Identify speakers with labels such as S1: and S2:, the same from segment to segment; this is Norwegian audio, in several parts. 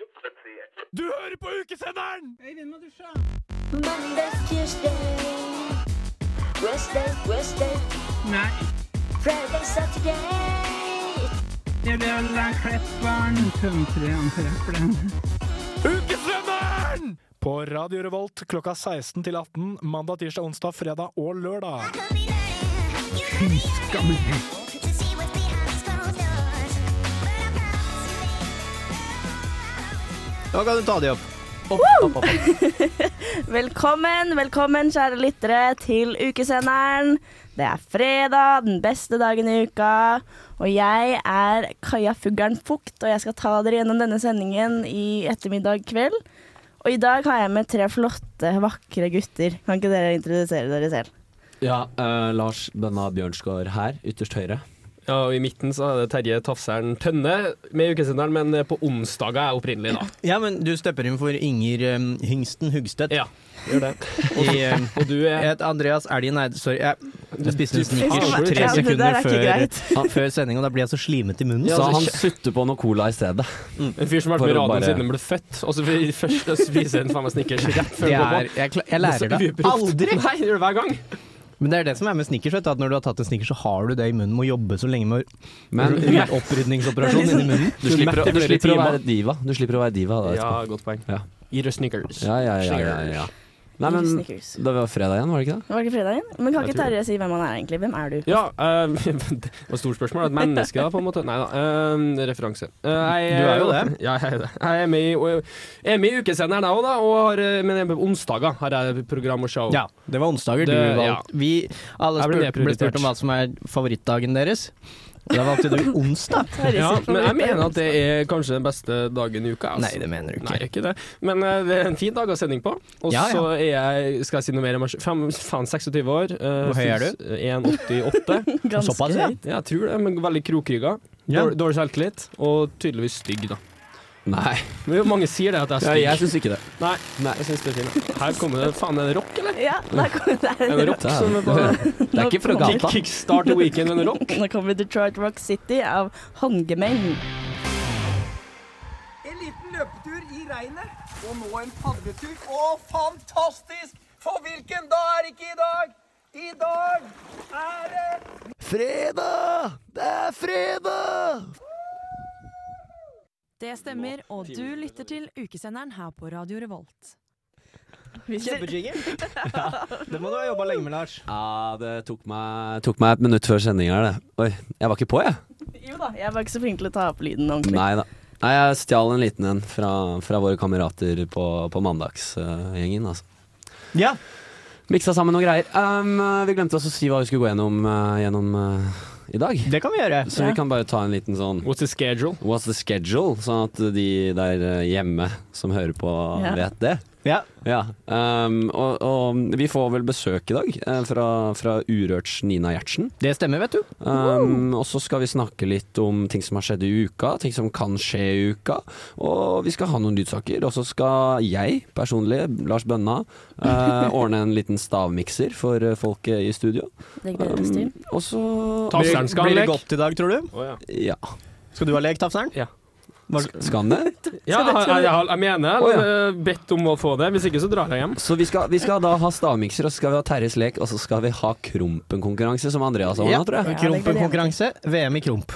S1: variert.
S2: Du hører på ukesenderen!
S3: Monday's Tuesday, Wednesday, Wednesday,
S4: Nei,
S3: Friday, Saturday.
S4: det blir alle klepperen. Tømtre, antreplen.
S2: Ukesenderen! På Radio Revolt klokka 16 til 18 mandag, tirsdag, onsdag, fredag og lørdag.
S5: Da kan du ta de opp. opp, opp, opp, opp.
S6: Velkommen, velkommen, kjære lyttere, til ukesenderen. Det er fredag, den beste dagen i uka. Og jeg er Kaja Fuglen Fukt, og jeg skal ta dere gjennom denne sendingen i ettermiddag kveld. Og i dag har jeg med tre flotte, vakre gutter. Kan ikke dere introdusere dere selv?
S7: Ja, eh, Lars Bønna Bjørnsgaard her, ytterst høyre.
S8: Ja, og I midten så er det Terje Tafseren Tønne med ukesenderen, men eh, på onsdager er jeg opprinnelig, da.
S5: Ja, men du stepper inn for Inger um, Hingsten Hugstedt.
S8: Ja, gjør det.
S5: I, um,
S8: Og du
S5: jeg
S8: er
S5: heter Andreas Elgen Nei, sorry. Jeg, jeg spiste en
S6: Ja,
S5: snickers
S6: men-
S5: tre
S6: ja, det der
S5: sekunder
S6: er ikke greit.
S5: før, før sending, og da blir jeg så slimet i munnen. Mm.
S7: Så
S5: så
S7: han sutter på noe cola i stedet.
S8: en fyr som har
S7: For å
S8: vært på radioen
S7: bare-
S8: siden han ble født, og så vil- først å spise en faen meg snickers rett før
S5: det
S8: han
S5: er,
S8: går på.
S5: jeg, kla- jeg lærer det.
S8: Aldri! Nei, det gjør det hver gang.
S5: Men det er det som er med snickers. Vet du, at når du har tatt en snickers, så har du det i munnen. Må jobbe så lenge med
S7: Men
S5: en opprydningsoperasjon inni munnen.
S7: du slipper, å-
S8: metter
S7: du
S8: flere
S7: slipper å
S8: timer.
S7: være diva. Du slipper å være diva da
S8: Ja,
S7: etterpå.
S8: godt poeng.
S7: Ja.
S8: Gir deg snickers.
S7: Ja, ja, ja, ja, ja. Nei, men
S6: Snickers.
S7: det var fredag igjen, var det ikke det?
S6: Det var ikke fredagen. Men kan
S8: Jeg
S6: ikke
S8: tror
S6: Terje si hvem han er, egentlig? Hvem er du?
S8: Ja, eh, det var et stort spørsmål. Et menneske, da, på en måte. Nei da. eh, referanse. Eh, jeg,
S5: Du er jo det.
S8: Ja, jeg er det. Jeg er med i, og- er med i ukesenderen, jeg òg, da. Og har, eh, men jeg- på onsdager har jeg program og show.
S5: Ja, det var onsdager du
S8: Det-
S5: valgte. Vi alle
S8: Jeg ble
S5: spurte- ble
S8: nedprioritert.
S5: spurt om hva som er favorittdagen deres. Da valgte du onsdag.
S6: Terje
S8: Ja,
S6: sin
S8: men jeg
S6: favoritt.
S8: mener at det er kanskje den beste dagen i uka. altså.
S5: Nei, det mener du
S8: Nei,
S5: ikke.
S8: ikke det. Men eh, det er en fin dag å ha sending på. Og
S5: Ja, ja.
S8: så er jeg, skal jeg si noe mer om meg selv, fem- Faen, 26 år. eh,
S5: Hvor høy er du?
S8: fyls- eh, 1,88.
S6: Ganske
S5: Såpass, ja.
S6: høyt.
S8: ja, jeg tror det, men veldig krokrygga.
S5: Ja.
S8: Dår- Dårlig selvtillit, og tydeligvis stygg, da.
S7: Nei,
S8: Men jo, mange sier det at jeg er
S7: ja,
S8: stygg.
S7: jeg syns ikke det.
S8: Nei, jeg syns det er fint. Her kommer det Faen, er det rock, eller?
S6: Ja, der kom det
S8: Er det
S6: der.
S8: rock som er på
S7: Det er ikke fra
S8: Kick-
S7: gata.
S8: Kickstart the weekend med rock?
S6: Nå kommer Detroit Rock City av Håndgemeng.
S9: En liten løpetur i regnet, og nå en padletur. Å, fantastisk! For hvilken dag er ikke i dag? I dag er det
S5: Fredag! Det er fredag!
S10: Det stemmer, og du lytter til ukesenderen her på Radio Revolt.
S5: Kjempejingle. Det må du ha jobba lenge med, Lars.
S7: Ja, det tok meg, tok meg et minutt før sending her, det. Oi, jeg var ikke på, jeg.
S6: Jo da, jeg var ikke så flink til å ta opp lyden ordentlig.
S7: Nei da. Nei, jeg stjal en liten en fra, fra våre kamerater på, på mandagsgjengen, altså.
S5: Ja.
S7: Miksa sammen noen greier. Um, vi glemte også å si hva vi skulle gå gjennom, eh, gjennom eh, i dag.
S5: Det kan vi gjøre.
S7: Så
S6: Ja.
S7: vi kan bare ta en liten sånn
S8: What's the schedule?
S7: What's the schedule? Sånn at de der eh, hjemme som hører på,
S6: Ja.
S7: vet det.
S5: Ja.
S7: Ja. Um, og, og vi får vel besøk i dag eh, fra, fra Urørts Nina Gjertsen.
S5: Det stemmer, vet du.
S7: Um, og så skal vi snakke litt om ting som har skjedd i uka, ting som kan skje i uka. Og vi skal ha noen lydsaker. Og så skal jeg personlig, Lars Bønna, eh, ordne en liten stavmikser for eh, folket i studio.
S6: Det gleder vi oss til.
S7: Um, og så
S8: Tafseren skal ha
S5: Blir det
S8: lek.
S5: godt i dag, tror du?
S8: Å, ja.
S7: Ja.
S5: Skal du ha lek, Tafseren?
S8: Ja.
S5: Var-
S7: Skal han det?
S8: Ja, jeg, jeg, jeg, jeg mener
S7: Å, ja.
S8: jeg har eh, bedt om å få det. Hvis ikke, så drar jeg hjem.
S7: Så vi skal, vi skal da ha stavmikser, og så skal vi ha Terjes lek, og så skal vi ha krompenkonkurranse, som Andreas har
S5: Ja.
S7: ordna, tror jeg.
S5: Krompenkonkurranse. VM i kromp.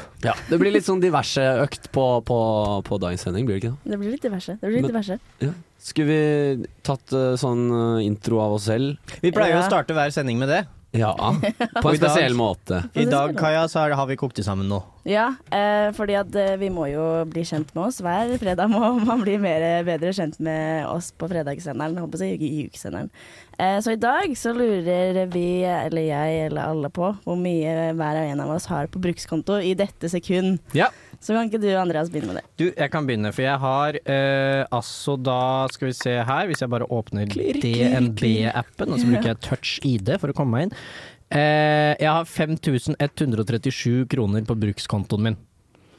S7: Det blir litt sånn diverse økt på, på, på dagens sending, blir det ikke det?
S6: Det blir litt diverse. Det blir litt
S7: Men-
S6: diverse.
S7: Skulle vi tatt eh, sånn eh, intro av oss selv?
S5: Vi pleier jo
S6: Ja.
S5: å starte hver sending med det.
S7: Ja. På en
S5: i dag-
S7: spesiell måte.
S5: I
S6: det
S5: dag,
S6: skal vi.
S5: Kaja, så er- har vi kokt det sammen nå.
S6: Ja, eh, fordi at eh, vi må jo bli kjent med oss. Hver fredag må man bli mer, bedre kjent med oss på fredagssenderen, håper jeg, i i ukesenderen. Eh, så i dag så lurer vi, eller jeg eller alle på, hvor mye hver og en av oss har på brukskonto i dette sekund.
S5: Ja.
S6: Så kan ikke du, Andreas, begynne med det.
S5: Du, jeg kan begynne, for jeg har eh, altså da Skal vi se her, hvis jeg bare åpner DNB-appen, og så bruker jeg Touch ID for å komme meg inn. Eh, jeg har 5137 kroner på brukskontoen min.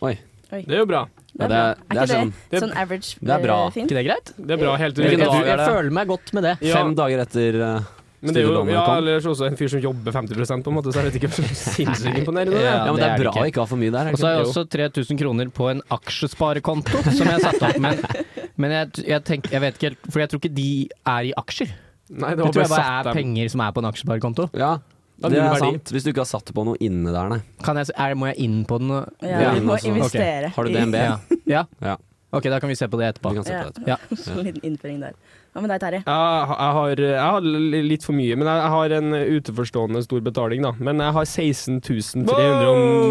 S7: Oi.
S8: Det er jo bra.
S7: Ja, det er-
S6: bra.
S7: det er
S6: ikke det sånn average
S7: det er bra.
S6: eh, fint?
S5: Ikke det greit?
S8: Det er bra helt
S7: Hvilken
S5: Jeg,
S7: dag
S5: jeg
S7: er det?
S5: føler meg godt med det.
S8: Ja.
S7: Fem dager etter uh,
S8: Men det er jo
S7: studielånet
S8: ja,
S7: kom.
S8: ellers også en fyr som jobber 50 på en måte, så jeg vet ikke om det er sinnssykt imponerende. det.
S7: Ja, men det er bra å
S5: ikke.
S7: ikke ha for mye der. er
S5: Og så
S7: det
S5: har
S7: ikke?
S5: jeg også 3000 kroner på en aksjesparekonto som jeg satte opp med en Men jeg, t- jeg, tenker, jeg vet ikke helt For jeg tror ikke de er i aksjer.
S8: Nei, det
S5: Det
S8: var
S5: tror jeg bare
S8: besatt
S5: er
S8: dem.
S5: penger som er på en aksjesparekonto.
S7: Ja,
S8: Da
S7: det
S8: null
S7: er
S8: verdi.
S7: sant. Hvis du ikke har satt på noe inne der, nei.
S5: Kan jeg, s- er, må jeg inn på den? og-
S6: Ja, vi
S7: men
S6: må
S7: altså-
S6: investere.
S7: Har du
S6: i-
S7: DNB?
S5: Ja. ja.
S7: Ja.
S5: Ok, da kan vi se på det
S7: Vi
S5: etterpå.
S7: kan se
S6: Ja.
S7: på det.
S6: Så liten innføring der. Hva med deg, Terje?
S8: Jeg har, jeg, har, jeg har li- litt for mye, men jeg har en utenforstående stor betaling, da. Men jeg har 16 309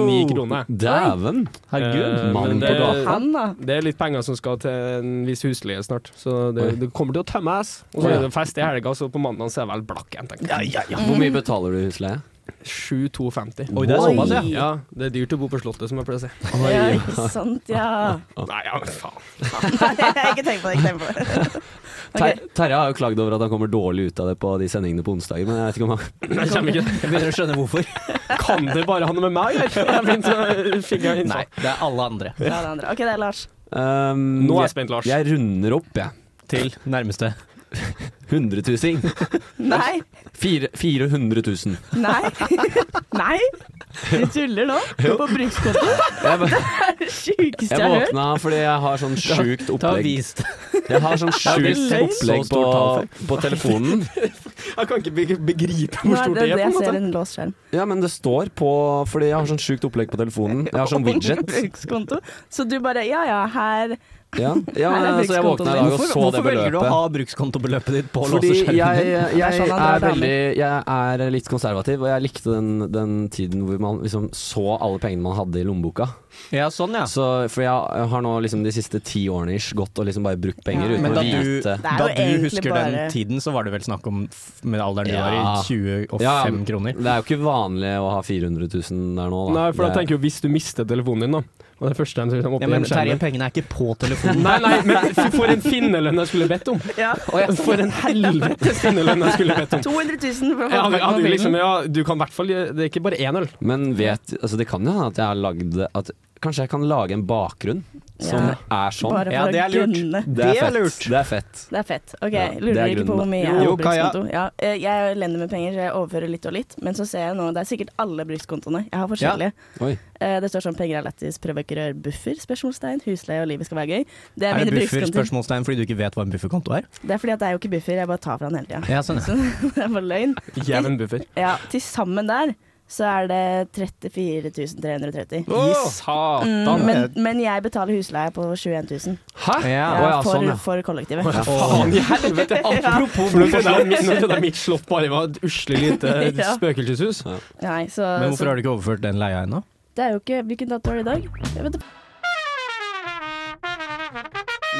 S7: Wow!
S8: kroner.
S7: Dæven!
S8: Eh,
S5: Herregud.
S7: mannen på
S8: men det-
S7: gata.
S6: Han, da?
S8: Det er litt penger som skal til en viss husleie snart, så det,
S7: Oi.
S8: det kommer til å tømmes. Og så er det fest i helga, så på mandag er jeg vel blakk igjen, tenker jeg.
S7: Hvor mye betaler du i husleie?
S8: 7250.
S5: Oi, det er
S6: Oi.
S5: såpass, ja.
S8: Ja, det er dyrt å bo på Slottet, som jeg pleier å si.
S6: Ja, ikke sant, ja.
S8: Nei, ja, men faen.
S6: Nei, jeg har ikke tenkt på det. Ikke tenkt på det.
S7: Ter Terje har jo klagd over at han kommer dårlig ut av det på de sendingene på onsdager, men jeg vet ikke om han
S8: Jeg kommer ikke
S5: Jeg begynner å skjønne hvorfor.
S8: Kan det bare ha noe med meg å gjøre? Jeg begynte å fingre inn
S5: Nei,
S8: sånn.
S5: det er alle andre.
S6: Ja, det andre. OK, det er Lars.
S7: Ehm,
S8: Nå er jeg
S7: jeg,
S8: spent, Lars.
S7: jeg runder opp, jeg.
S5: Til nærmeste.
S7: 100 000.
S6: Nei.
S7: Fire- 400 000.
S6: Nei. Nei. Du tuller nå? På brukskonto?
S7: Jeg, v-
S6: Det er det
S7: jeg
S6: sjukeste jeg har hørt.
S7: våkna fordi jeg har sånn sjukt
S5: Ta
S7: opplegg.
S5: vis det.
S7: Jeg har sånn
S5: det
S7: sjukt
S5: er løgn.
S7: opplegg
S5: Så
S7: på,
S5: stort
S7: på telefonen.
S8: Jeg kan ikke be- begripe
S6: Nå
S8: hvor
S6: er
S8: stort
S6: det
S8: det er,
S6: det
S8: på
S6: jeg
S8: en
S6: ser
S8: måte.
S6: en låst skjerm.
S7: Ja, men det står på Fordi jeg har sånn sjukt opplegg på telefonen. Jeg har sånn widget.
S6: Brukskonto. Så du bare Ja ja, her
S7: Ja, ja
S6: Her er
S7: så jeg våkna i dag og
S5: Hvorfor,
S7: så det
S5: hvorfor velger du å
S7: beløpet.
S5: ha bruskontobeløpet ditt på
S7: Fordi jeg,
S5: låseskjermen din?
S7: jeg,
S6: sånn Det er sånn han
S7: er
S6: drar damer.
S7: veldig, jeg er litt konservativ, og jeg likte den, den tiden hvor man liksom så alle pengene man hadde i lommeboka.
S5: Ja, sånn, ja.
S7: Så, for jeg har nå liksom de siste ti årene ish gått og liksom bare brukt penger
S6: Ja.
S7: uten
S5: Men
S7: å
S5: da du,
S7: vite.
S6: Det er jo
S5: da du
S6: egentlig
S5: husker
S6: bare-
S5: den tiden, så var det vel snakk om f- med alderen du var
S7: Ja.
S5: i, 25
S7: Ja,
S5: kroner.
S7: Det er jo ikke vanlig å ha 400 000 der nå, da.
S8: Nei, for da
S7: Det-
S8: tenker jo hvis du mister telefonen din, da. Og det første de kommer opp
S5: Ja,
S8: i
S5: men Terje,
S8: hjemskjermen.
S5: pengene er ikke på telefonen.
S8: Nei, nei, men f- for en finnelønn jeg skulle bedt om.
S6: Ja.
S8: For en helvetes finnelønn jeg skulle bedt om.
S6: 200 000 for å
S8: Ja,
S6: få
S8: men, ja,
S6: tilbake
S8: du, liksom,
S6: mobilen.
S8: ja, du kan i hvert fall gjøre- Det er ikke bare én øl.
S7: Men vet Altså, det kan jo hende at jeg har lagd at Kanskje jeg kan lage en bakgrunn som
S6: Ja.
S7: er sånn.
S6: Bare
S5: Ja,
S6: for
S5: det er
S6: å
S5: lurt.
S6: gunne.
S7: Det er,
S5: Det er
S7: fett.
S5: lurt.
S7: Det er fett.
S6: Det er fett. Ok,
S7: Ja,
S6: Lurer
S7: det er
S6: dere ikke på hvor
S7: grunnen,
S6: mye
S5: da.
S6: jeg har
S5: Jo,
S6: på
S5: Kaja.
S6: brukskonto? Ja, eh, jeg er elendig med penger, så jeg overfører litt og litt. Men så ser jeg nå, det er sikkert alle brukskontoene. Jeg har forskjellige.
S7: Oi.
S6: Eh, Det står sånn 'penger er lættis, prøv ikke å røre buffer', spørsmålstegn. 'Husleie og livet skal være gøy'. Det er,
S5: Er det
S6: mine
S5: buffer
S6: brukskontoer.
S5: spørsmålstegn fordi du ikke vet hva en bufferkonto er?
S6: Det er fordi at det er jo ikke buffer, jeg bare tar fra den hele tida.
S5: Ja, sånn, ja.
S6: Det er bare løgn.
S8: Jævn buffer.
S6: Ja, til sammen der så er det 34 330.
S8: I satan.
S6: Mm, men, men jeg betaler husleie på 21 000
S7: Hæ?
S5: Ja.
S7: Å ja,
S6: for,
S7: sånn, ja.
S6: for kollektivet.
S8: Faen i helvete! Apropos
S5: Ja.
S8: buffer. Nå trodde jeg mitt slott bare var et usle lite
S6: Ja.
S8: spøkelseshus.
S6: Nei, så,
S5: Men
S6: så
S5: hvorfor har du ikke overført den leia ennå?
S6: det er jo ikke Hvilken dato er det i dag? Jeg vet ikke.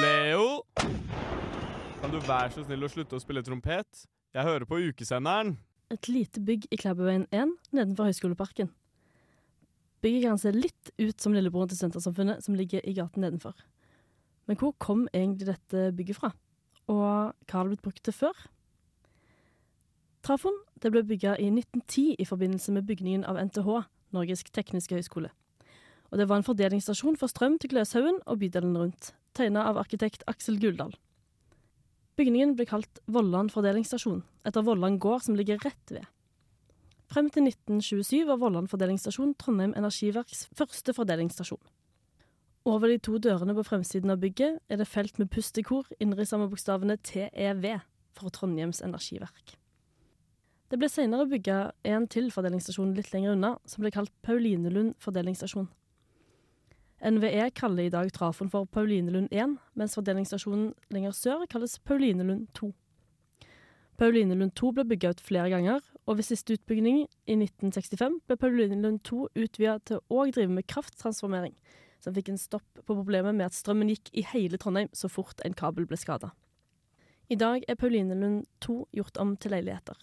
S1: Leo, kan du være så snill å slutte å spille trompet? Jeg hører på ukesenderen.
S11: et lite bygg i Klæbuveien 1 nedenfor Høgskoleparken. Bygget kan se litt ut som lillebroren til Studentersamfunnet som ligger i gaten nedenfor. Men hvor kom egentlig dette bygget fra? Og hva har det blitt brukt til før? Trafon det ble bygget i 1910 i forbindelse med bygningen av NTH, Norges tekniske høgskole. Og det var en fordelingsstasjon for strøm til Gløshaugen og bydelen rundt, tegnet av arkitekt Aksel Guldal. Bygningen ble kalt Vollan fordelingsstasjon, etter Vollan gård som ligger rett ved. Frem til 1927 var Vollan fordelingsstasjon Trondheim Energiverks første fordelingsstasjon. Over de to dørene på fremsiden av bygget er det felt med pustekor innrisset med bokstavene TEV for Trondheims Energiverk. Det ble senere bygget en til fordelingsstasjon litt lenger unna, som ble kalt Paulinelund fordelingsstasjon. NVE kaller i dag trafoen for Paulinelund 1, mens fordelingsstasjonen lenger sør kalles Paulinelund 2. Paulinelund 2 ble bygget ut flere ganger, og ved siste utbygging i 1965 ble Paulinelund 2 utvidet til å også drive med krafttransformering, som fikk en stopp på problemet med at strømmen gikk i hele Trondheim så fort en kabel ble skadet. I dag er Paulinelund 2 gjort om til leiligheter.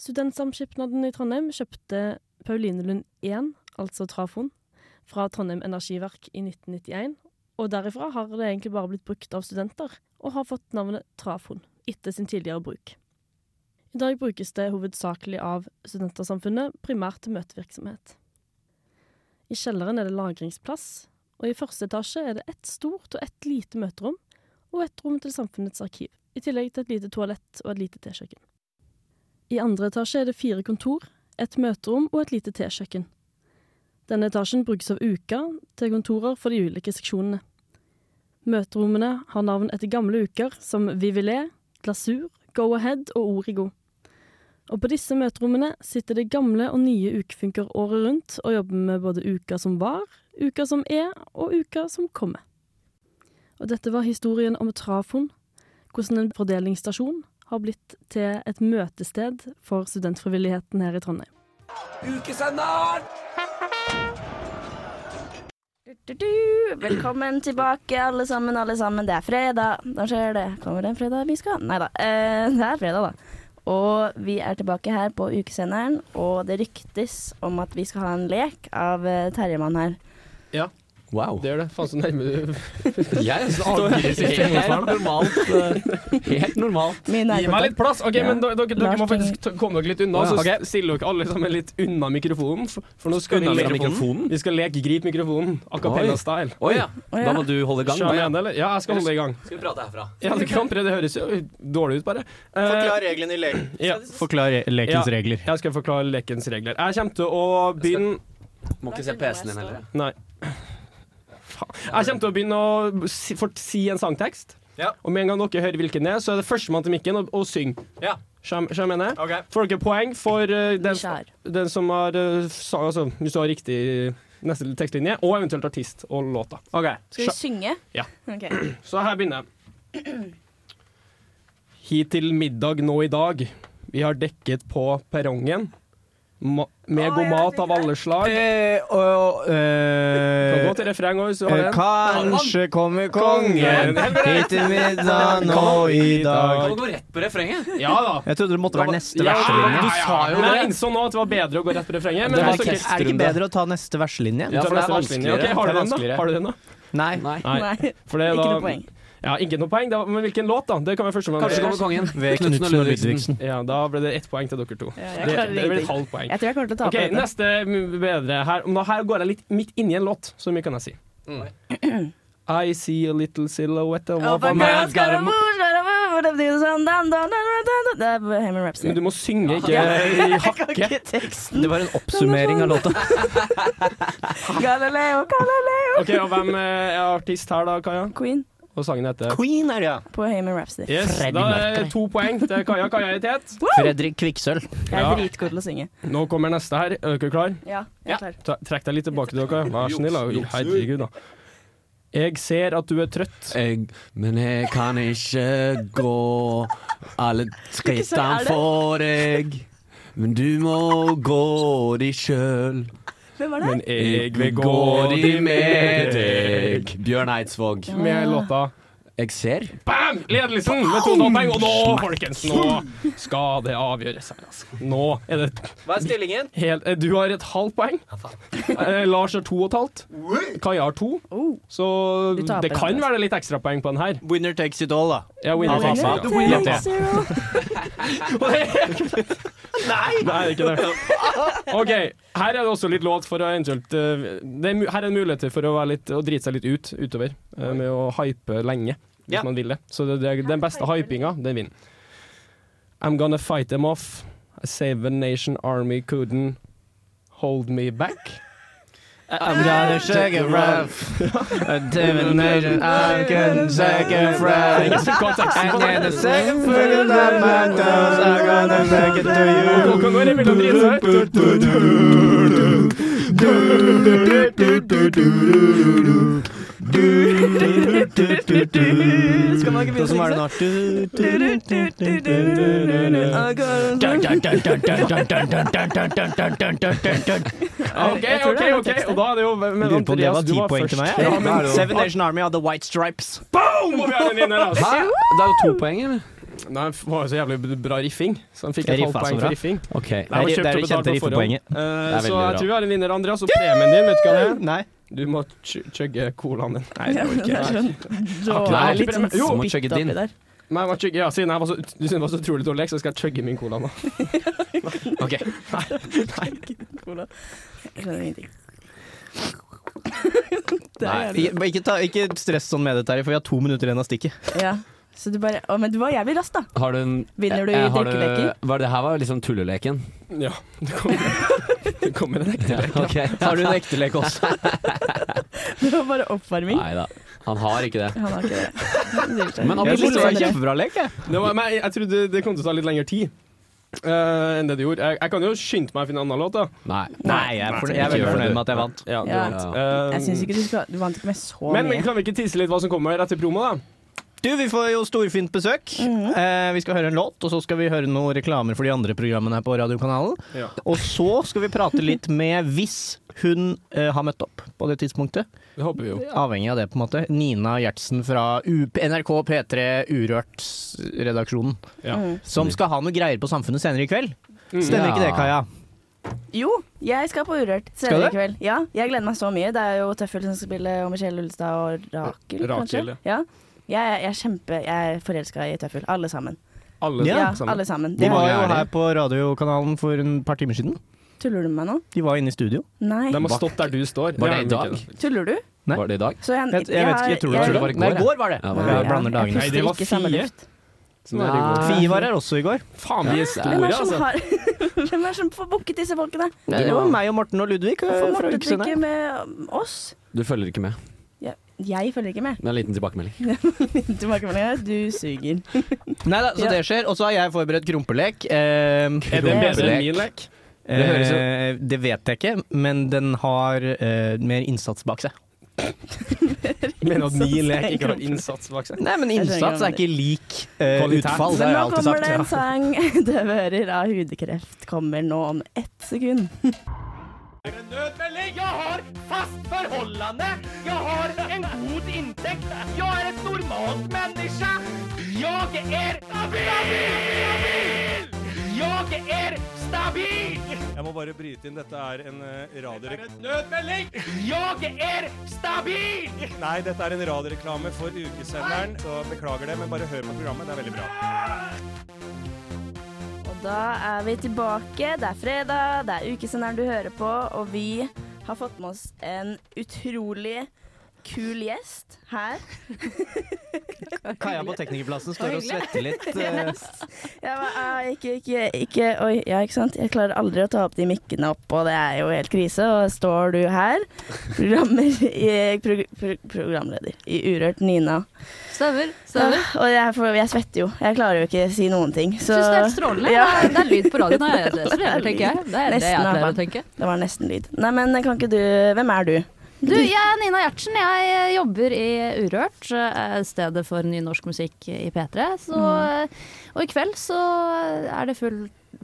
S11: Studentsamskipnaden i Trondheim kjøpte Paulinelund 1, altså trafoen, fra Trondheim Energiverk i 1991, og derifra har det egentlig bare blitt brukt av studenter, og har fått navnet Trafon, etter sin tidligere bruk. I dag brukes det hovedsakelig av studentersamfunnet, primært til møtevirksomhet. I kjelleren er det lagringsplass, og i første etasje er det ett stort og ett lite møterom, og ett rom til samfunnets arkiv, i tillegg til et lite toalett og et lite tekjøkken. I andre etasje er det fire kontor, et møterom og et lite tekjøkken. Denne etasjen brukes av Uka til kontorer for de ulike seksjonene. Møterommene har navn etter gamle uker som Vivilé, Glasur, Go-Ahead og Origo. Og på disse møterommene sitter det gamle og nye ukefunker året rundt og jobber med både uka som var, uka som er og uka som kommer. Og dette var historien om Trafon, hvordan en fordelingsstasjon har blitt til et møtested for studentfrivilligheten her i Trondheim.
S9: Ukesenderen!
S6: Du, Velkommen tilbake, alle sammen, alle sammen. Det er fredag. Da skjer det. Kommer det en fredag vi skal? Nei da. Eh, det er fredag, da. Og vi er tilbake her på ukesenderen, og det ryktes om at vi skal ha en lek av eh, Terjemann her.
S8: Ja.
S7: Wow.
S8: Det gjør det. Faen, så nærme du
S7: Jeg
S8: Står
S7: angrer
S8: helt
S7: helt
S8: innenfor.
S7: normalt. eh, Helt normalt.
S8: Gi meg litt plass! Ok,
S6: Ja.
S8: men dere, dere, dere
S6: Lars,
S8: må faktisk ta- komme dere litt unna.
S7: Å, ja.
S8: Så s- stiller dere alle sammen litt unna mikrofonen. For, for nå skal vi
S7: Unna
S8: leke
S7: mikrofonen?
S8: Vi skal leke grip mikrofonen. A
S7: Oi.
S8: cappella-style.
S7: Å ja.
S6: Å,
S7: Da
S6: ja.
S7: må du holde i gang.
S8: Skjønner
S7: da.
S8: jeg det, eller? Ja, jeg skal holde i gang.
S7: Skal vi prate herfra?
S8: Ja, du kan prøve. Det høres jo dårlig ut, bare. Eh,
S5: Forklar reglene i leken.
S8: ja.
S5: Forklar lekens
S8: Ja.
S5: regler.
S8: Jeg skal forklare lekens regler. Jeg kommer til å begynne
S7: Må ikke se PC-en din heller.
S8: Nei. Faen. Jeg kommer til å begynne å si, for, si en sangtekst.
S1: Ja.
S8: Og med en gang dere hører hvilken det er, så er det førstemann til mikken og, og syng.
S1: Ja.
S8: Skjønner skjønner jeg mener?
S1: Ok.
S8: Får dere poeng for eh, den,
S6: Skjær.
S8: den som har eh, sa, altså, Hvis du har riktig neste tekstlinje, og eventuelt artist og låta.
S6: Skal vi synge?
S8: Ja.
S6: Ok.
S8: Så her begynner jeg. Hit til middag nå i dag. Vi har dekket på perrongen. Ma med god mat av alle slag.
S5: Eh,
S8: Kan gå til refreng også, hvis du har den.
S5: Kanskje kommer kongen hit til middag nå i dag.
S7: Kan du gå rett på refrenget?
S8: Ja da.
S5: Jeg trodde det måtte være neste
S8: Ja,
S5: verselinje.
S8: du sa jo det. Men jeg innså nå at det var bedre å gå rett på refrenget. Men altså,
S5: Det
S8: det
S5: var
S8: er
S5: orkesterrunde. Er det ikke bedre å ta neste verselinje?
S7: Ja, for det er vanskeligere.
S8: har,
S7: Det
S8: du
S7: er
S8: den, da?
S7: vanskeligere.
S8: har du den, da?
S5: Nei.
S7: Nei.
S6: Nei, ikke
S8: For det er da-
S6: noe poeng.
S8: Ja, ikke noe poeng. Det var, men hvilken låt, da? Det kan vi først og
S7: Kanskje kommer
S8: fremst
S7: kongen.
S5: Ved Knutsen og Ludvigsen.
S8: Ja, da ble det ett poeng til dere to.
S6: Ja, jeg
S8: Det,
S6: klarer
S8: det blir et
S6: ingenting.
S8: halvt poeng.
S6: Jeg tror jeg kommer til å
S8: OK,
S6: tape dette.
S8: neste m- bedre her. Nå her går jeg litt midt inni en låt, så mye kan jeg si. I see a little silhouette of
S6: Open
S8: a man
S6: girls got a move, got a move, what if they do something, dun, dun, dun, dun, dun. Det er Bohemian
S8: Men
S6: Rhapsody.
S8: du må synge, ikke i hakket.
S6: Ikke teksten.
S5: Det var en oppsummering av låta.
S6: Galileo, Galileo.
S8: OK, og hvem eh, er artist her da, Kaja?
S6: Queen
S8: Og sangen heter
S5: Queen er det, ja.
S6: på Bohemian Rhapsody.
S8: Yes,
S5: Freddie
S8: da er det
S5: Mercury.
S8: to poeng til Kaja. Kaja er i tet.
S5: Fredrik Kvikksølv.
S6: Jeg
S8: Ja.
S6: er dritgod til å synge.
S8: Nå kommer neste her. Er dere klar?
S6: Ja, jeg er klar.
S8: Ta- Trekk deg litt tilbake, dere. Vær snill. da. Herregud, da. Jeg ser at du er trøtt.
S7: Jeg, men jeg kan ikke gå alle
S6: er
S7: skrittene
S6: det?
S7: for deg. Men du må gå de sjøl.
S6: Hvem var det?
S8: Men jeg vil gå
S7: går
S8: de med
S7: deg.
S8: deg.
S7: Bjørn Eidsvåg.
S8: Med låta
S7: Jeg ser.
S8: Bam! Ledelsen med to dompoeng. Og nå, folkens, nå skal det avgjøres her, altså. Nå er det
S5: Hva er stillingen?
S8: helt eh, Du har et halvt poeng. Eh, Lars har to og et halvt. Kaja har to.
S6: Oh.
S8: Så
S6: Du taper
S8: det kan
S6: den,
S8: være litt ekstrapoeng på den her.
S5: Winner takes it all, da.
S8: Ja, winner
S5: Ja,
S8: takes
S5: hva
S8: it.
S5: sa
S8: Ja.
S6: Winner
S8: Ja.
S6: takes zero.
S8: Nei! Nei, det er ikke det. OK, her er det også litt låt for å eventuelt eh, det er, mu- Her er det muligheter for å, være litt, å drite seg litt ut utover eh, med å hype lenge, hvis
S5: Ja.
S8: man vil det. Så det, det, er- den beste hypinga, den vinner. I'm gonna fight them off. I save the nation army couldn't hold me back.
S5: I'm gonna shake it rough. A divination I can shake it
S8: Jeg
S5: rough.
S8: husker ikke hva teksten
S5: And
S8: var.
S5: then the second foot of that man does, I'm gonna make it to you.
S8: Nå kan dere begynne å drite seg ut.
S5: Skal man ikke begynne å synge sånn?
S8: OK, OK, OK. Og da er det jo men
S5: Lurer på om det
S8: Andreas,
S5: var
S8: du
S5: ti poeng til meg?
S8: først. Ja, men
S5: Seven Nation Army hadde White Stripes.
S8: boom! Og vi har en vinner, altså.
S7: Hæ? Det er jo to poeng, eller?
S8: Nei, det var jo så jævlig bra riffing, så han fikk
S5: Jeg
S8: et halvt
S5: riffa så
S8: poeng
S5: bra.
S8: for riffing.
S5: Ok, det
S8: Nei,
S5: er
S8: det var
S5: det
S8: kjøpt og betalt
S5: kjente
S8: på
S5: riftepoenget.
S7: Det er
S8: forhånd. Eh,
S7: veldig
S8: så jeg
S7: bra.
S8: tror vi har en vinner, Andreas. Og premien din, vet du hva det er?
S5: Nei.
S8: Du må ch chugge colaen din. Nei, det
S6: Ja,
S8: var
S6: det
S8: ikke
S6: er sånn
S8: Akkurat. Nei, litt
S6: sånn
S8: sånn- jo,
S7: må
S6: spytt
S7: sjekke din.
S6: oppi der.
S8: Nei, jeg må chugge. Ja, siden jeg var så, du syntes det var så utrolig dårlig, så skal jeg chugge min cola nå. OK.
S6: Cola. Jeg skjønner ingenting. Det
S5: Nei.
S6: er
S5: Ikke, ikke, ta, ikke stress sånn med dette, her, for vi har to minutter igjen av stikket.
S6: jævlig. Ja. Så du bare Å, men du var jævlig rask, da.
S7: Har du en
S6: Vinner du i
S7: eh, har du-
S6: drikkeleker?
S7: Var det her var liksom tulleleken?
S8: Ja, det kommer, det kommer en ekte.
S7: Ja, ok.
S5: Har du en ekte lek også?
S6: Det var bare oppvarming.
S7: Nei da. Han har ikke det.
S6: Han har ikke det.
S7: Men apropos-
S8: Jeg synes det var
S5: kjempebra lek, jeg.
S8: Det var, men jeg, jeg trodde det kom til å ta litt lengre tid eh, enn det det gjorde. Jeg, jeg kan jo skynde meg å finne en annen låt, da.
S7: Nei.
S5: Nei, jeg er, fornøyd- jeg er veldig fornøyd med at jeg vant.
S8: Ja, du
S6: Ja.
S8: vant. Eh,
S6: Jeg syns ikke du skal Du vant ikke med så
S8: men, men
S6: mye.
S8: kan vi ikke tisse litt hva som kommer etter promo, da?
S5: Du, vi får jo storfint besøk.
S8: Mhm.
S5: Eh, vi skal høre en låt, og så skal vi høre noen reklamer for de andre programmene her på radiokanalen.
S8: Ja.
S5: Og så skal vi prate litt med hvis hun eh, har møtt opp på det tidspunktet.
S8: Det håper vi jo.
S5: Avhengig av det, på en måte. Nina Gjertsen fra U NRK P3 Urørt-redaksjonen.
S8: Ja.
S6: Mm.
S8: Mm.
S5: Som skal ha noe greier på Samfunnet senere i kveld. Stemmer
S7: Ja.
S5: ikke det, Kaja?
S6: Jo, jeg skal på Urørt
S5: Skal du?
S6: senere i kveld. Ja, jeg gleder meg så mye. Det er jo Tøffel som skal spille, og Michelle Ulstad og Rakel,
S8: Rakel,
S6: kanskje. Ja. Jeg, er- jeg er kjempe Jeg er forelska i Tøffel. Alle sammen.
S8: Alle
S5: Ja,
S6: Ja,
S8: sammen.
S6: alle sammen.
S5: De
S6: Det
S5: var
S6: var,
S5: jo
S7: er det?
S5: her på radiokanalen for et par timer siden.
S6: tuller du med meg nå?
S5: De var inne i studio.
S6: Nei.
S8: De har stått der du står.
S7: Var det
S8: er
S7: i
S8: de
S7: dag?
S8: ikke, da.
S6: Tuller du?
S5: Nei.
S7: Var det i dag?
S6: Så jeg,
S5: Jeg, jeg vet ikke, jeg tror
S7: jeg-
S5: det
S7: jeg-
S5: var i går. Nei, i går var det.
S7: Ja,
S5: Nei,
S7: var det
S5: jeg blander
S6: jeg
S5: dagene.
S8: Nei, det var
S6: puster ikke samme
S8: fire.
S6: luft.
S8: Sånn er det i går.
S5: Fie var her også i går.
S8: Faen, vi
S6: Hvem
S8: er store,
S6: er det som,
S8: altså.
S6: har, hvem er det som får booket disse folkene?
S5: Det var meg og Morten og Ludvig. eh,
S6: Får
S5: fra
S6: Morten
S5: ukesenderen.
S6: drikke med oss?
S7: Du følger ikke med.
S6: Ja, jeg følger ikke med.
S7: Det er en liten tilbakemelding.
S6: Tilbakemeldinga er du suger.
S5: Nei da, så
S6: Ja.
S5: det skjer. Og så har jeg forberedt krumpelek. Eh,
S8: Er det
S5: krumpelek.
S8: bedre enn min lek?
S7: Det høres
S5: Eh, det vet jeg ikke, men den har eh, mer innsats bak seg.
S8: Mener at min
S6: Innsats er
S8: lek
S6: en
S8: ikke har
S6: kropp.
S8: innsats bak seg?
S5: Nei, men
S6: Jeg trenger
S5: innsats er ikke lik eh,
S8: Kvalitet.
S5: utfall. Det
S6: Men
S5: har jeg
S6: nå
S5: alltid
S6: kommer det en
S5: sagt. Ja.
S6: sang døve ører av hudkreft kommer nå om ett sekund.
S8: Jeg må bare bryte inn. Dette er en eh, radioreklame. Nei, dette er en radioreklame for ukesenderen, så beklager det, men bare hør på programmet. Det er veldig bra.
S6: Og da er vi tilbake. Det er fredag, det er ukesenderen du hører på, og vi har fått med oss en utrolig kul gjest her.
S5: Kaja på teknikerplassen står og svetter litt. eh,
S6: Jeg var, jeg, ikke, ikke, ikke, oi, ja, ikke sant? Jeg klarer aldri å ta opp de mikkene opp, og det er jo helt krise. Og står du her, programmer, i, pro, pro, programleder i Urørt Nina.
S12: Stemmer. stemmer.
S6: Ah, Og jeg, får, jeg svetter jo. Jeg klarer jo ikke å si noen ting. Så
S12: Syns det er strålende.
S6: Ja.
S12: Det, er, det er lyd på radioen. Jeg leser det, tenker jeg. Det er det
S6: Nesten,
S12: jeg
S6: da.
S12: pleier å tenke.
S6: Det var nesten lyd. Nei, men kan ikke du Hvem er du?
S12: Du, jeg er Nina Gjertsen. Jeg eh, jobber i Urørt, eh, stedet for ny norsk musikk i P3. Så, eh, og i kveld så eh, er det full,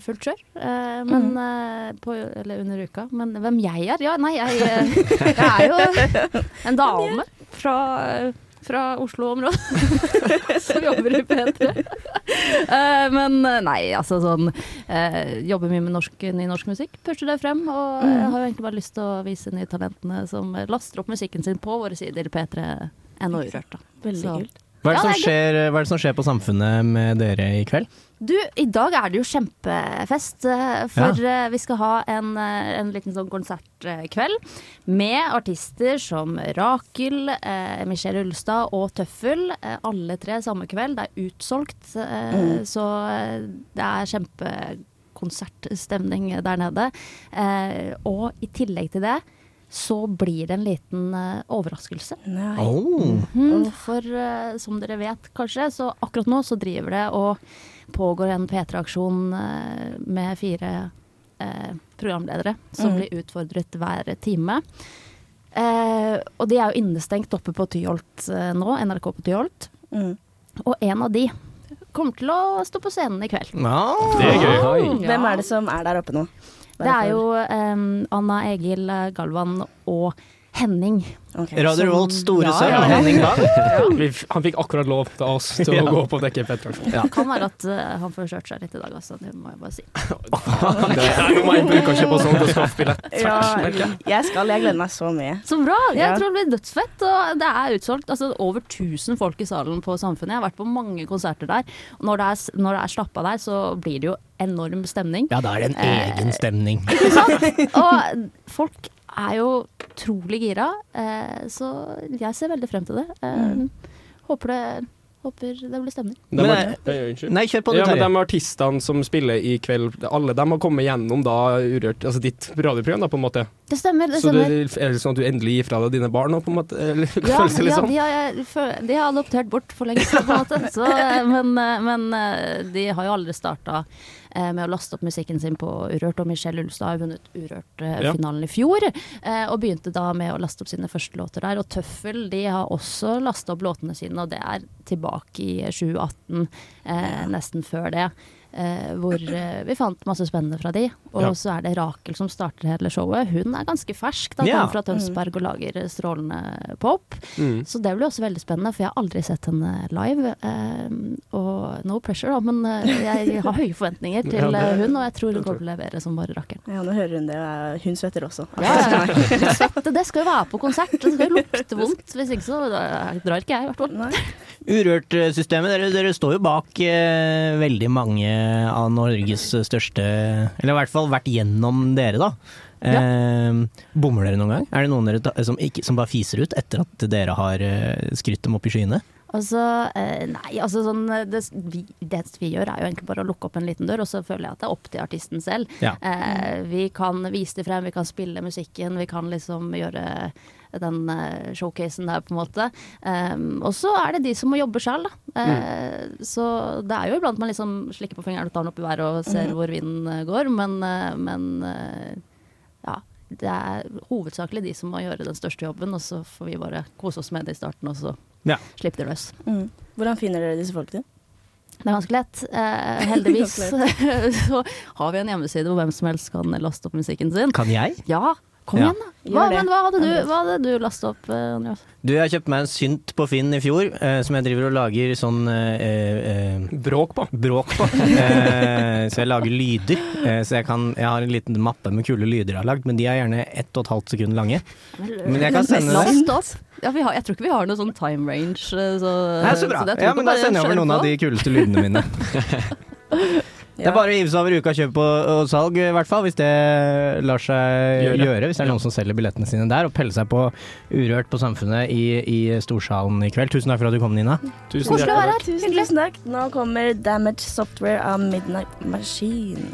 S12: fullt kjør. eh, Men eh, på, Eller under uka. Men hvem jeg er? Ja, nei, jeg, eh, jeg er jo en dame fra eh, fra Oslo-området, som jobber i P3. Eh, Men eh, nei, altså sånn eh, Jobber mye med norsk, ny norsk musikk, pusher det frem. Og
S6: Mm.
S12: eh, har jo egentlig bare lyst til å vise de talentene som laster opp musikken sin på våre sider p3.no Urørt. da.
S6: Veldig
S12: Så.
S6: kult.
S5: Hva er, det
S12: Ja,
S5: som
S12: det
S5: skjer, hva er det som skjer på Samfunnet med dere i kveld?
S12: Du, i dag er det jo kjempefest, eh, for eh, vi skal ha en, eh, en liten sånn konsertkveld med artister som Rakel, eh, Michelle Ulstad og Tøffel. Eh, alle tre samme kveld. Det er utsolgt, eh, så eh, det er kjempekonsertstemning der nede. Eh, og i tillegg til det så blir det en liten eh, overraskelse.
S6: Nei.
S5: Oh.
S6: Mhm.
S12: Mm, for eh, som dere vet kanskje, så akkurat nå så driver det og pågår en P3-aksjon eh, med fire eh, programledere som
S6: Mm.
S12: blir utfordret hver time. Eh, og de er jo innestengt oppe på Tyholt eh, nå, NRK på Tyholt.
S6: Mm.
S12: Og en av de kommer til å stå på scenen i kveld.
S5: Ah.
S6: Hvem er det som er der oppe nå?
S12: Det er jo eh, Anna Egil Galvan og Henning.
S6: Ok.
S5: Radio
S12: Som-
S5: Revolt store
S12: Ja,
S5: sønn,
S12: ja.
S5: Henning Bang.
S8: Vi f- Han fikk akkurat lov av oss til å gå på dekket Petter.
S12: Det kan være at eh, han får kjørt seg litt i dag, altså. Det må jeg bare si.
S8: Nei, nå må jeg bruke å kjøpe sånt og skaffe billett.
S6: Ja, jeg skal. Jeg gleder meg så mye.
S12: Så bra! Jeg
S6: Ja.
S12: tror det blir dødsfett. Og det er utsolgt. Altså, over 1000 folk i salen på Samfunnet. Jeg har vært på mange konserter der. Og når det er, når det er slappa der, så blir det jo enorm stemning. Eh,
S5: Ja, da er det en
S6: Eh,
S5: egen stemning.
S12: Og folk er jo utrolig gira. Eh, så jeg ser veldig frem til det. Eh, håper, det håper det blir stemning.
S8: De
S5: Men,
S8: er- Oi, Unnskyld.
S5: Nei, kjør på du,
S8: Ja, men
S5: Terje.
S8: de artistene som spiller i kveld, alle de har kommet gjennom da Urørt, altså ditt radioprogram da, på en måte.
S12: Det stemmer. det
S8: Så det,
S12: stemmer.
S8: er det sånn at du endelig gir fra deg dine barn nå, på en måte? Eller,
S12: Ja,
S8: føles det litt
S12: ja
S8: sånn?
S12: de, har, jeg føl- de har adoptert bort for lengst, på en måte. Så, eh, men, eh, men eh, de har jo aldri starta med å laste opp musikken sin på Urørt. Og Michelle Ulstad har jo vunnet
S13: Ja.
S12: Urørt-finalen i fjor, eh, og begynte da med å laste opp sine første låter der. Og Tøffel de har også lasta opp låtene sine, og det er tilbake i 2018, eh, nesten før det. Eh, hvor eh, vi fant masse spennende fra de. Og
S13: Ja.
S12: så er det Rakel som starter hele showet. Hun er ganske fersk, da,
S13: Ja.
S12: kommer fra Tønsberg og lager strålende pop. Så det blir også veldig spennende, for jeg har aldri sett henne live. eh, og no pressure, da, men eh, jeg har høye forventninger
S6: Ja,
S12: til
S6: det-
S12: eh, hun, og jeg tror hun kommer til å levere som bare rakkeren.
S6: Ja, nå hører hun det, og jeg- hun svetter også.
S12: Svette, det skal jo være på konsert, det skal jo lukte vondt. Hvis ikke så eh, drar ikke jeg, i hvert fall.
S5: Urørt-systemet, eh, dere, dere står jo bak eh, veldig mange av Norges største Eller i hvert fall vært gjennom dere, da. Eh, bommer dere noen gang? Er det noen dere ta, som, ikke, som bare fiser ut etter at dere har eh, skrytt dem opp i skyene?
S12: Altså, eh, nei, altså sånn eh, det, vi, det vi gjør er jo egentlig bare å lukke opp en liten dør, og så føler jeg at det er opp til artisten selv.
S5: Ja.
S12: Eh, vi kan vise det frem, vi kan spille musikken, vi kan liksom gjøre den eh, showcasen der, på en måte. Um, og så er det de som må jobbe sjøl, da. Eh,
S5: Mm.
S12: Så det er jo iblant man liksom slikker på fingeren og tar den opp i været og ser
S5: Mm.
S13: Mhm.
S12: hvor vinden eh, går, men, eh, men eh, ja. Det er hovedsakelig de som må gjøre den største jobben, og så får vi bare kose oss med det i starten, og så
S5: Ja.
S12: Slipp det løs.
S6: Mm. Hvordan finner dere disse folkene?
S12: Det er ganske lett. Eh, heldigvis
S6: Ganske
S12: så har vi en hjemmeside hvor hvem som helst kan laste opp musikken sin.
S5: Kan jeg?
S12: Ja, kom
S5: Ja.
S12: igjen da.
S6: Gjør
S12: Hva,
S6: det.
S12: men hva hadde du,
S6: Ja, det.
S12: hva hadde du lastet opp, eh, Andreas?
S5: Du, jeg kjøpte meg en synt på Finn i fjor, eh, som jeg driver og lager sånn eh, eh,
S8: Bråk på.
S5: Bråk på. eh, så jeg lager lyder. Eh, så jeg, kan, jeg har en liten mappe med kule lyder jeg har lagd, men de er gjerne ett og et halvt sekund lange. Men jeg kan sende det.
S12: Last opp. Ja, vi har, jeg tror ikke vi har noe sånn time range. eh, Så,
S5: Nei, så bra.
S12: det tror
S5: Ja,
S12: jeg
S5: men
S12: bare
S5: da sender jeg
S12: kjør
S5: over noen
S12: på.
S5: av de kuleste lydene mine. Det er bare å hive seg over uka kjøp og, og salg, i hvert fall, hvis det lar seg
S14: Gjøre.
S5: gjøre. Hvis det er noen som selger billettene sine der, og pelle seg på Urørt på Samfunnet i, i Storsalen i kveld. Tusen takk for at du kom, Nina.
S6: Koselig å være her. Tusen, tusen takk. Nå kommer Damage Software av Midnight Machine.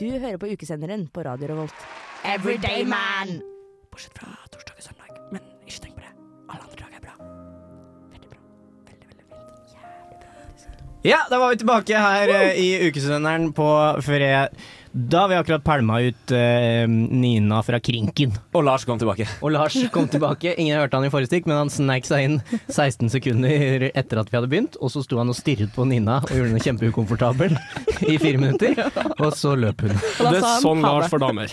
S15: Du hører på ukesenderen på Radio Revolt.
S16: Everyday man.
S15: Bortsett fra torsdag og søndag, men ikke tenk på det. Alle andre dager er bra.
S5: Ja, da var vi tilbake her eh, i ukesenderen på fredag. Da har vi akkurat pælma ut eh, Nina fra Krinken.
S7: Og Lars kom tilbake.
S5: Og Lars kom tilbake. Ingen hørte han i forrige stikk, men han snek seg inn 16 sekunder etter at vi hadde begynt. Og så sto han og stirret på Nina og gjorde henne kjempeukomfortabel i fire minutter. Og så løp hun.
S8: Og det er sånn Lars for damer.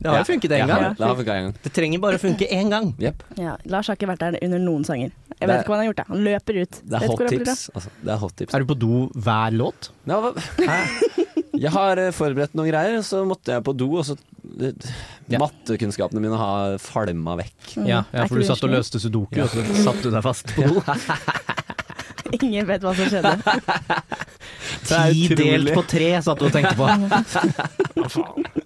S5: Det har jo funket én gang.
S7: Det har funket en gang.
S5: Det trenger bare å funke én gang.
S7: Jepp.
S6: Ja, Lars har ikke vært der under noen sanger. Jeg
S7: Det
S6: vet
S7: er-
S6: ikke hva han har gjort. da. Han løper ut.
S7: Det
S6: Vet
S7: er hot
S6: hvor han blir
S7: tips.
S6: av.
S7: Altså, det er hot tips.
S5: Er du på do hver låt?
S7: Ja, hva? Hæ? Jeg har eh, forberedt noen greier, og så måtte jeg på do, og så det- Mattekunnskapene mine har falma vekk.
S5: Mm. Ja, ja, for du satt og løste sudoku, og så satt du deg fast på do.
S6: Ingen vet hva som skjedde.
S5: Ti delt på tre satt du og tenkte på.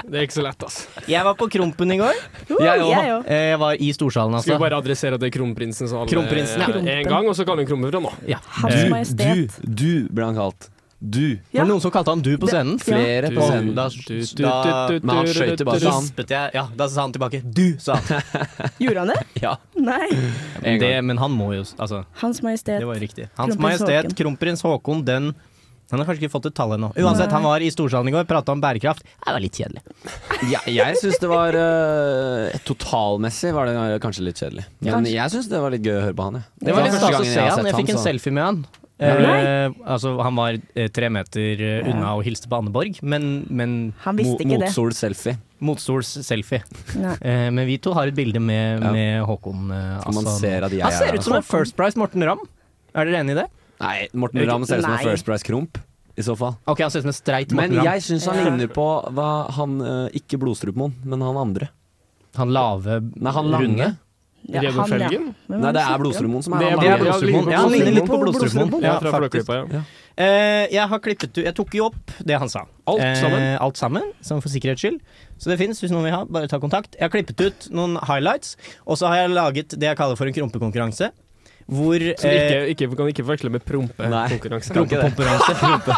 S8: Det er ikke så lett, altså.
S5: Jeg var på Krompen i går.
S8: Jeg òg. jeg òg.
S5: Eh, Jeg var i Storsalen,
S8: Skal vi
S5: altså.
S8: bare adressere at det er kronprinsen som alle
S5: Kronprinsen, ja.
S8: en gang, og så kaller vi krommen fra nå.
S5: Ja.
S8: Hans
S7: Du,
S8: Majestet.
S7: Du, du ble han kalt. Du.
S5: Var det noen som kalte han du på scenen?
S7: Flere på scenen.
S5: Da, da,
S7: Men han skjøt tilbake, sa han.
S5: Raspet jeg, ja, da sa han tilbake 'du', sa han.
S6: Gjorde han det?
S5: Ja.
S6: Nei.
S5: Men, det, men han må jo Altså,
S6: Hans Majestet.
S5: det var jo riktig. Hans
S6: Kronprins
S5: Majestet
S6: Haakon.
S5: Kronprins Haakon den Han har kanskje ikke fått et tall ennå. Uansett, han var i Storsalen i går, prata om bærekraft. Det var litt kjedelig.
S7: Jeg, jeg syns det var eh, Totalmessig var det kanskje litt kjedelig. Men
S5: Kanskje.
S7: jeg syns det var litt gøy å høre på han. jeg.
S5: Det var litt
S7: første
S5: stas å
S7: gangen
S5: se
S7: har
S5: han.
S7: sett sånn
S5: Jeg fikk en
S7: så-
S5: selfie med han.
S7: Nei.
S5: Eh, altså, han var eh, tre meter eh, unna og hilste på Anneborg, men, men
S6: Han visste ikke det.
S7: Motsols selfie.
S5: Motsols selfie.
S6: Nei.
S5: Eh, men vi to har et bilde med, med Håkon. eh,
S7: Og man
S5: Aslan.
S7: ser at jeg
S5: han
S7: er-
S5: ser ut som en First Price Morten Ramm. Er dere enig i det?
S7: Nei, Morten Ramm ser ut som en
S5: Nei.
S7: First Price Kromp, i så fall.
S5: Ok, han ser ut som en streit
S7: Men
S5: Morten Ramm.
S7: jeg syns han ligner på hva han eh, Ikke Blodstrupemoen, men han andre.
S5: Han lave,
S7: Nei, han lange.
S5: runde?
S7: Ja, Reven han, ja. Felgen? Men
S5: Nei,
S7: hvem
S5: det
S7: snakker
S5: er
S7: om?
S5: Blodstrumoen som
S7: Det
S5: er
S7: er
S5: han lange.
S7: Blodstrumoen.
S5: Ja, han ligner litt på
S7: Blodstrumoen.
S5: Blodstrumoen.
S7: Ja, fra
S5: faktisk.
S7: Flåklypa, ja.
S5: Eh, jeg har klippet ut Jeg tok jo opp det han sa.
S7: Alt sammen?
S5: Eh, alt sammen, sånn for sikkerhets skyld. Så det fins, hvis noen vil ha, bare ta kontakt. Jeg har klippet ut noen highlights, og så har jeg laget det jeg kaller for en krumpekonkurranse. hvor eh,
S8: Så ikke, ikke, kan ikke forveksle med prompekonkurranse. Prompe.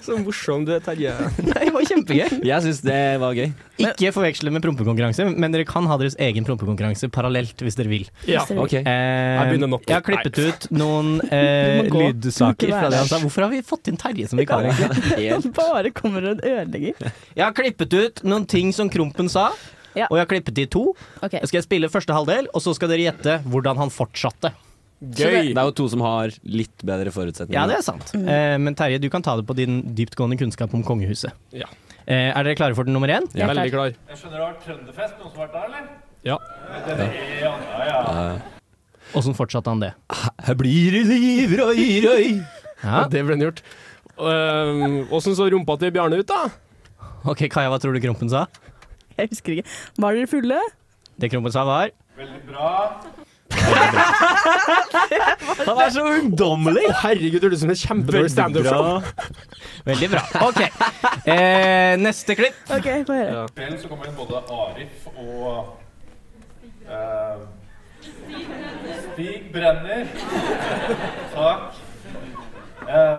S8: Så morsom du er, Terje.
S5: Nei, det var kjempegøy.
S7: Jeg syns det var gøy.
S5: Ikke forveksle med prompekonkurranse, men dere kan ha deres egen prompekonkurranse parallelt hvis dere vil.
S8: Ja, ok.
S5: Eh,
S8: Jeg begynner nok.
S5: jeg har klippet ut noen eh,
S6: Du må gå.
S5: lydsaker
S6: Du
S5: fra
S6: må være
S5: det han
S6: der.
S5: sa. Hvorfor har vi fått inn Terje som vikar, egentlig?
S6: Han bare kommer og ødelegger.
S5: Jeg har klippet ut noen ting som Krompen sa,
S6: Ja.
S5: og jeg har klippet det i to.
S6: Ok.
S5: Jeg skal spille første halvdel, og så skal dere gjette hvordan han fortsatte.
S7: Gøy! Det er jo to som har litt bedre forutsetninger.
S5: Ja, det er sant.
S7: Mm.
S5: Eh, men Terje, du kan ta det på din dyptgående kunnskap om kongehuset.
S8: Ja.
S5: Eh, er dere klare for den nummer én?
S8: Ja. Veldig klar.
S17: Jeg skjønner det har vært Trønderfest. Noen som har vært der, eller?
S8: Ja.
S17: Den er- ja. ja, ja.
S5: Eh. Åssen fortsatte han det?
S7: Her blir det livrøy, røy.
S5: Ja.
S8: Det ble den gjort. Ehm, Åssen så rumpa til Bjarne ut, da?
S5: Ok, Kaja, hva tror du Krompen sa?
S6: Jeg husker ikke. Var dere fulle?
S5: Det Krompen sa var
S17: Veldig bra.
S5: Han er så ungdommelig!
S8: herregud, du er som en kjempedårlig standup-show.
S5: Veldig bra. Ok. Eh, neste klipp.
S6: OK, få høre.
S17: I kveld så kommer det både Arif og eh, Stig Brenner. Takk. Eh,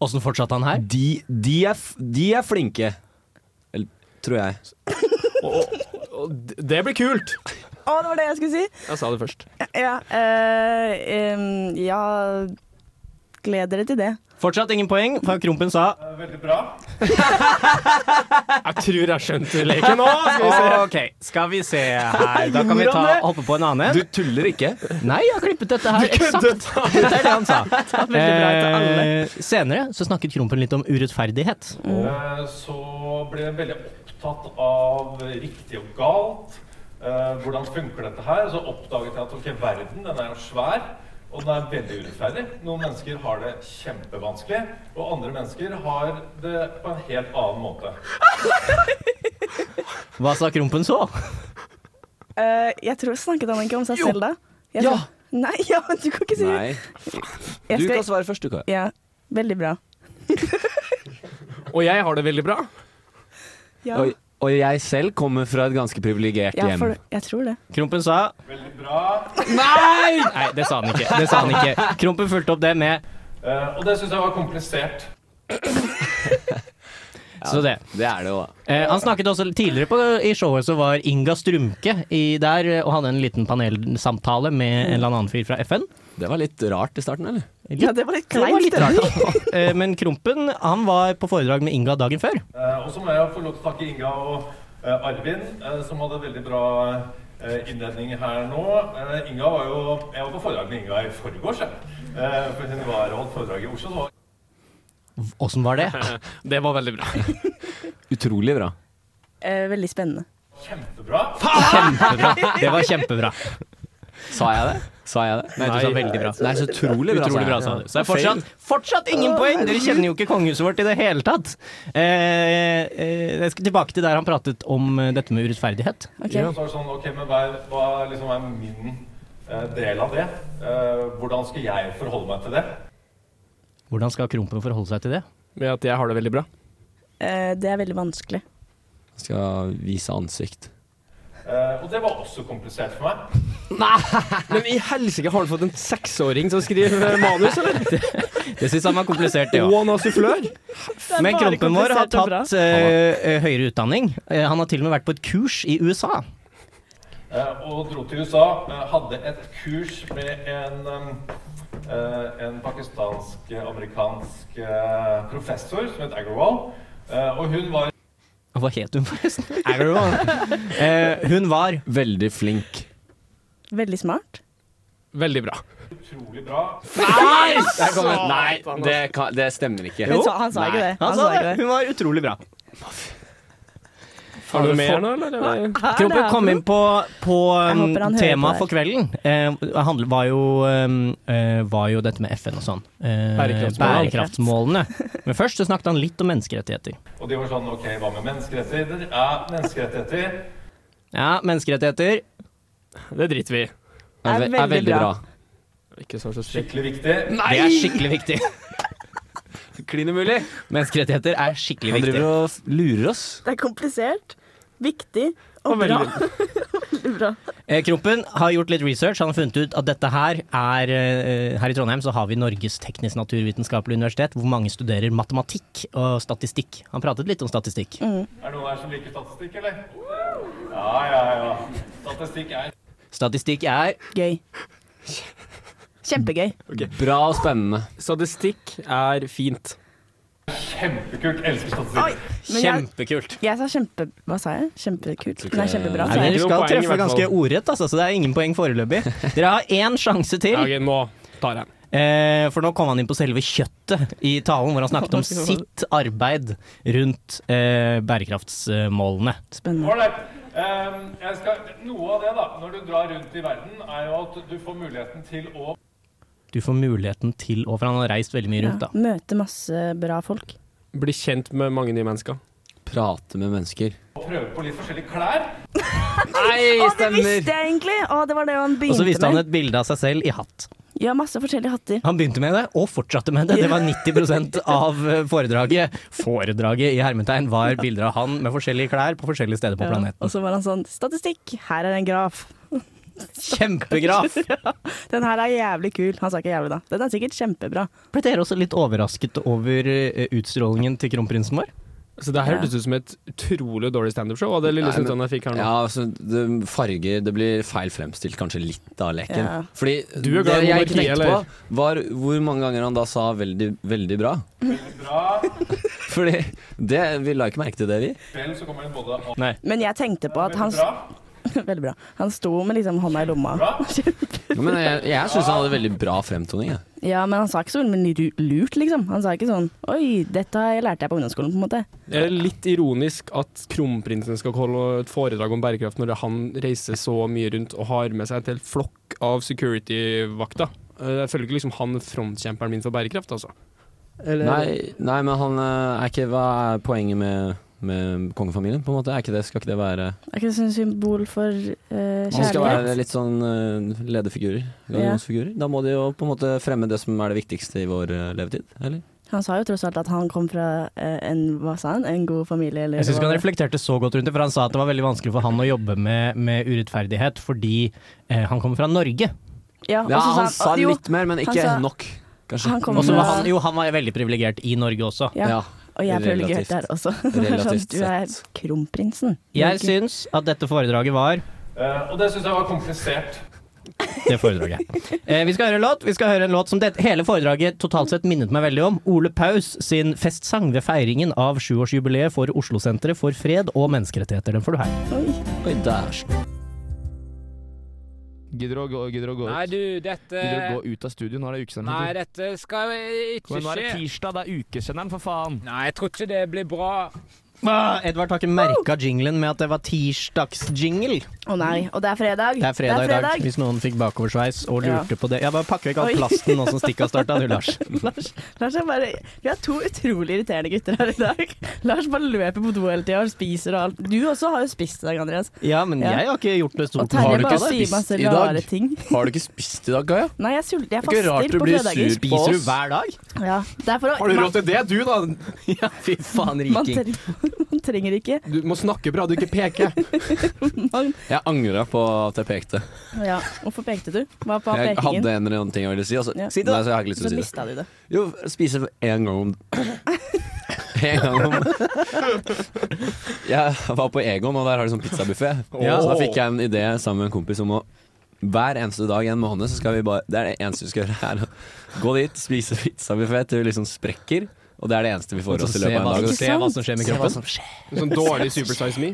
S5: Åssen fortsatte han her?
S7: De, de, er, f- de er flinke. Eller, tror jeg.
S8: det blir kult!
S6: Å, det var det jeg skulle si.
S8: Jeg sa det først.
S6: Ja, eh, em, ja Gled dere til det.
S5: Fortsatt ingen poeng, for Krompen sa
S17: Eh, Veldig bra.
S8: Jeg tror jeg skjønte leken nå. Skal vi se.
S5: Ok, skal vi se her. Da kan vi ta, hoppe på en annen. Du
S7: tuller ikke?
S5: Nei, jeg har klippet dette her
S8: Du kødder.
S5: eksakt. Dette er det han sa.
S17: veldig bra til alle.
S5: Eh, senere så snakket Krompen litt om urettferdighet.
S17: Eh, Så ble jeg veldig opptatt av riktig og galt. Eh, hvordan funker dette her? Så oppdaget jeg at ok, verden den er jo svær, og den er veldig urettferdig. Noen mennesker har det kjempevanskelig, og andre mennesker har det på en helt annen måte.
S5: Hva sa Krompen så?
S6: Eh, jeg tror snakket han ikke om seg selv da. Jeg ja. Nei, ja, men du kan ikke si det.
S7: Nei.
S6: Jeg
S7: Du
S6: skal-
S7: kan svare først, du, Kaja.
S6: Ja, veldig bra.
S8: Og jeg har det veldig bra.
S6: Ja,
S7: Og, og jeg selv kommer fra et ganske privilegert
S6: ja
S7: hjem.
S6: for, jeg tror det.
S5: Krompen sa
S17: Veldig bra.
S5: Nei! Nei, det sa han ikke. Det sa han ikke. Krompen fulgte opp det med
S17: Eh, og det syns jeg var komplisert.
S5: Så det.
S7: Det er det jo, da.
S5: Eh, han snakket også tidligere på, i showet så var Inga Strumke i der eh, og hadde en liten panelsamtale med en eller annen fyr fra FN.
S7: Det var litt rart i starten, eller?
S6: Ja, det var litt
S5: Det var
S6: kleint.
S5: litt rart. Eh, Men Krompen han var på foredrag med Inga dagen før.
S17: Eh, og så må jeg få lov til å takke Inga og eh, Arvin, eh, som hadde veldig bra eh, innledning her nå. Eh, Inga var jo, jeg var på foredrag med Inga i forgårs, jeg. Eh, for hun var holdt foredrag i Oslo. Så var
S5: Åssen var det?
S8: Det var veldig bra.
S7: Utrolig bra.
S6: Eh, veldig spennende.
S17: kjempebra.
S5: Kjempebra. Det var kjempebra.
S7: Sa jeg det? Sa jeg det?
S5: Nei, du sa veldig bra.
S7: Nei, så utrolig bra,
S5: Utrolig bra sa du. Så det er fortsatt, fortsatt ingen poeng! Dere kjenner jo ikke kongehuset vårt i det hele tatt. Eh, eh, jeg skal tilbake til der han pratet om eh, dette med urettferdighet.
S17: Og Så er det sånn, ok, men hva, er- hva er liksom er min eh, del av det? Eh, hvordan skal jeg forholde meg til det?
S5: Hvordan skal Krompen forholde seg til det?
S8: Med at jeg har det veldig bra.
S6: Eh, det er veldig vanskelig.
S7: Skal vise ansikt.
S17: Eh, og det var også komplisert for meg.
S8: Men i helsike, har du fått en seksåring som skriver manus, eller?
S5: Det syns han var komplisert, det
S8: Og
S5: òg.
S8: han har sufflør.
S5: Men Krompen vår har tatt eh, eh, høyere utdanning. Eh, han har til og med vært på et kurs i USA.
S17: Eh, og dro til USA. eh, hadde et kurs med en, em, eh, en pakistansk-amerikansk eh, professor som het Agarwal. Eh, og hun var
S5: Hva het hun, forresten? Eh, hun var
S7: Veldig flink.
S6: Veldig smart.
S8: Veldig bra.
S17: utrolig bra.
S7: Nei! Der kom et- Nei, det, kan, det stemmer ikke.
S6: Han sa- han sa
S7: Nei.
S6: ikke det.
S5: Han
S6: Han
S5: sa
S6: sa ikke
S5: det.
S6: det.
S5: Hun var utrolig bra.
S8: Har du
S5: du
S8: mer
S5: fått-
S8: nå, eller?
S6: Hva er det
S5: Krompen
S6: her
S5: kom
S6: for
S5: inn
S6: noe?
S5: på, på
S6: Jeg
S5: um,
S6: håper han hører
S5: temaet
S6: på
S5: for kvelden. Eh, det handl- var, jo, um, eh, var jo dette med FN og sånn. Eh,
S8: Bærekraftsmålene.
S5: bærekraftsmålene. Men først så snakket han litt om menneskerettigheter.
S17: Og de var sånn OK, hva med menneskerettigheter? Ja, menneskerettigheter.
S5: Ja, menneskerettigheter.
S8: Det driter vi i.
S7: Er, ve er veldig bra.
S8: Ikke så så strikt.
S17: Skikkelig viktig.
S5: Det er skikkelig viktig.
S7: Klin umulig.
S5: Menneskerettigheter er skikkelig
S7: Han
S5: viktig.
S7: driver og f- lurer oss.
S6: Det er komplisert, viktig
S8: Og
S6: og bra.
S8: veldig-
S6: Bra.
S5: Eh, Krompen har gjort litt research. Han har funnet ut at dette her er eh, Her i Trondheim så har vi Norges teknisk-naturvitenskapelige universitet, hvor mange studerer matematikk og statistikk. Han pratet litt om statistikk.
S6: Mm.
S17: Er det noen her som liker statistikk, eller? Ja, ja, ja. Statistikk er
S5: Statistikk er
S6: Gøy. Kjempegøy.
S8: Bra og spennende. Statistikk er fint.
S17: Kjempekult. Elsker
S6: Oi,
S17: statistikk.
S6: men jeg- Jeg sa kjempe... Hva sa jeg? Kjempekult? Nei, kjempebra. sa
S5: Nei,
S6: jeg.
S5: Dere skal treffe ganske ordrett, altså, så det er ingen poeng foreløpig. Dere har én sjanse til.
S8: nå tar jeg
S5: Eh, for nå kom han inn på selve kjøttet i talen, hvor han snakket om sitt arbeid rundt eh, bærekraftsmålene.
S17: Ålreit. Ehm, jeg skal, noe av det, da, når du drar rundt i verden, er jo at du får muligheten til å
S5: Du får muligheten til å For han har reist veldig mye rundt, da.
S6: Ja, møte masse bra folk.
S8: Bli kjent med mange nye mennesker. Prate med mennesker.
S17: prøve på litt forskjellige klær.
S6: Nei, Å, det visste jeg egentlig! Å, det var det han
S5: Og så viste
S6: begynte
S5: han
S6: med.
S5: et bilde av seg selv i hatt.
S6: Ja, masse forskjellige hatter.
S5: Han begynte med det, og fortsatte med det. Det var 90 av eh, foredraget. Foredraget i hermetegn var bilder av han med forskjellige klær på forskjellige steder på
S6: Ja,
S5: planeten.
S6: Og så var han sånn Statistikk, her er en graf.
S5: Kjempegraf!
S6: Ja, Den her er jævlig kul. Han sa ikke jævlig, da. Den er sikkert kjempebra.
S5: Ble dere også litt overrasket over eh, utstrålingen til kronprinsen vår?
S8: Så Altså, det her hørtes ut som et utrolig dårlig standup-show, og det lille
S7: Nei, men-
S8: snuttet jeg fikk her nå.
S7: Ja, altså, det, farger Det blir feil fremstilt kanskje litt av leken.
S8: Ja.
S7: Fordi
S8: Du er glad
S7: det jeg
S8: i monarki,
S7: ikke tenkte
S8: eller?
S7: på, var hvor mange ganger han da sa 'veldig, veldig bra'. Fordi det Vi la ikke merke til det, vi.
S17: Vel, så kommer det både av
S7: Nei.
S6: Men jeg tenkte på at han
S17: Veldig
S6: Veldig bra. Han sto med liksom hånda i lomma.
S7: Men jeg, jeg syns han hadde veldig bra fremtoning. Jeg.
S6: Ja, men han sa ikke så veldig mye ru- lurt, liksom. Han sa ikke sånn Oi, dette har jeg lærte jeg på ungdomsskolen, på en måte.
S8: Er det litt ironisk at kronprinsen skal holde et foredrag om bærekraft når han reiser så mye rundt og har med seg en hel flokk av security-vakter? Eh, Jeg føler ikke liksom han frontkjemperen min for bærekraft, altså. Eller-
S7: Nei, nei, men han eh, er ikke Hva er poenget med, med kongefamilien, på en måte? Er ikke det, skal ikke det være
S6: Er ikke det sånn symbol for eh,
S7: Man skal være
S6: kjærlighet?
S7: litt sånn eh, lederfigurer.
S6: Ja.
S7: lederfigurer. Da må de jo på en måte fremme det som er det viktigste i vår eh, levetid, eller?
S6: Han sa jo tross alt at han kom fra eh, en Hva sa han? En god familie, eller
S5: Jeg syns
S6: hva
S5: ikke han
S6: var det?
S5: reflekterte så godt rundt det, for han sa at det var veldig vanskelig for han å jobbe med, med urettferdighet fordi eh, han kommer fra Norge.
S6: Ja, og så sa han sa jo,
S7: litt mer, men
S6: ikke han sa-
S7: nok,
S6: kanskje. han kommer
S5: Og så var
S6: fra-
S5: han, jo, han var veldig privilegert i Norge også.
S6: Ja. Og jeg er privilegert der også. Det er sånn,
S5: Relativt
S6: du er kronprinsen.
S5: Jeg syns at dette foredraget var
S17: Eh, og det syns jeg var komplisert.
S5: det foredraget. Eh, vi skal høre en låt Vi skal høre en låt som dette, hele foredraget totalt sett minnet meg veldig om. Ole Paus sin festsang ved feiringen av sjuårsjubileet for Oslosenteret for fred og menneskerettigheter. Den får du her.
S7: Oi, der.
S18: Gidder du å gå, gidder du å gå ut?
S19: Nei, du, dette
S18: Gidder du å gå ut av studio? Nå er det ukesending.
S19: Nei, dette skal ikke skje.
S18: Men nå er det tirsdag, det er ukesenderen, for faen.
S19: Nei, jeg tror ikke det blir bra.
S5: Ah, Edvard har ikke merka jinglen med at det var tirsdagsjingle.
S6: Å nei. Og det er fredag.
S5: Det er fredag i dag, hvis noen fikk bakoversveis og lurte
S6: Ja.
S5: på det. Ja, bare pakk vekk all
S6: Oi.
S5: plasten nå som stikket har starta, du, Lars.
S6: Lars, Lars er bare, vi har to utrolig irriterende gutter her i dag. Lars bare løper på do hele tida og spiser og alt. Du også har jo spist i dag, Andreas.
S5: Ja, men
S6: Ja.
S5: jeg har ikke gjort noe
S6: Og
S5: stort
S6: Terje
S5: av
S6: bare
S5: det.
S6: sier masse rare ting.
S7: Har du ikke spist i dag, Kaja?
S6: Nei, jeg sulter. Jeg
S7: Det er ikke
S6: faster
S7: rart du
S6: på
S7: blir
S6: fredager.
S7: sur på Spiser du oss.
S5: hver dag?
S6: Ja. Det er for å,
S8: til det, du da? ja, fy faen,
S6: man, man, trenger, man trenger ikke
S8: Du må snakke bra, du ikke peke.
S7: Jeg angra på at jeg pekte.
S6: Ja, hvorfor pekte du? Hva på
S7: Jeg
S6: pekingen?
S7: hadde en eller annen ting jeg ville si, og så,
S6: Ja.
S7: Si det, da. Nei, så jeg har ikke lyst
S6: Så
S7: til å si
S6: mista du det.
S7: det. Jo, spise én gang om En gang om Jeg var på Egon, og der har de sånn pizzabuffé.
S5: Ja.
S7: Så da fikk jeg en idé sammen med en kompis om å hver eneste dag i en måned så skal vi bare Det er det eneste vi skal gjøre her. å Gå dit, spise pizzabuffé til vi liksom sprekker, og det er det eneste vi
S5: Og
S7: får
S5: så
S7: oss i
S5: se
S7: løpet av
S5: hva-
S7: en dag.
S5: se hva som skjer med
S7: Se hva
S5: kroppen.
S7: som skjer.
S8: Sånn dårlig Super Size Me.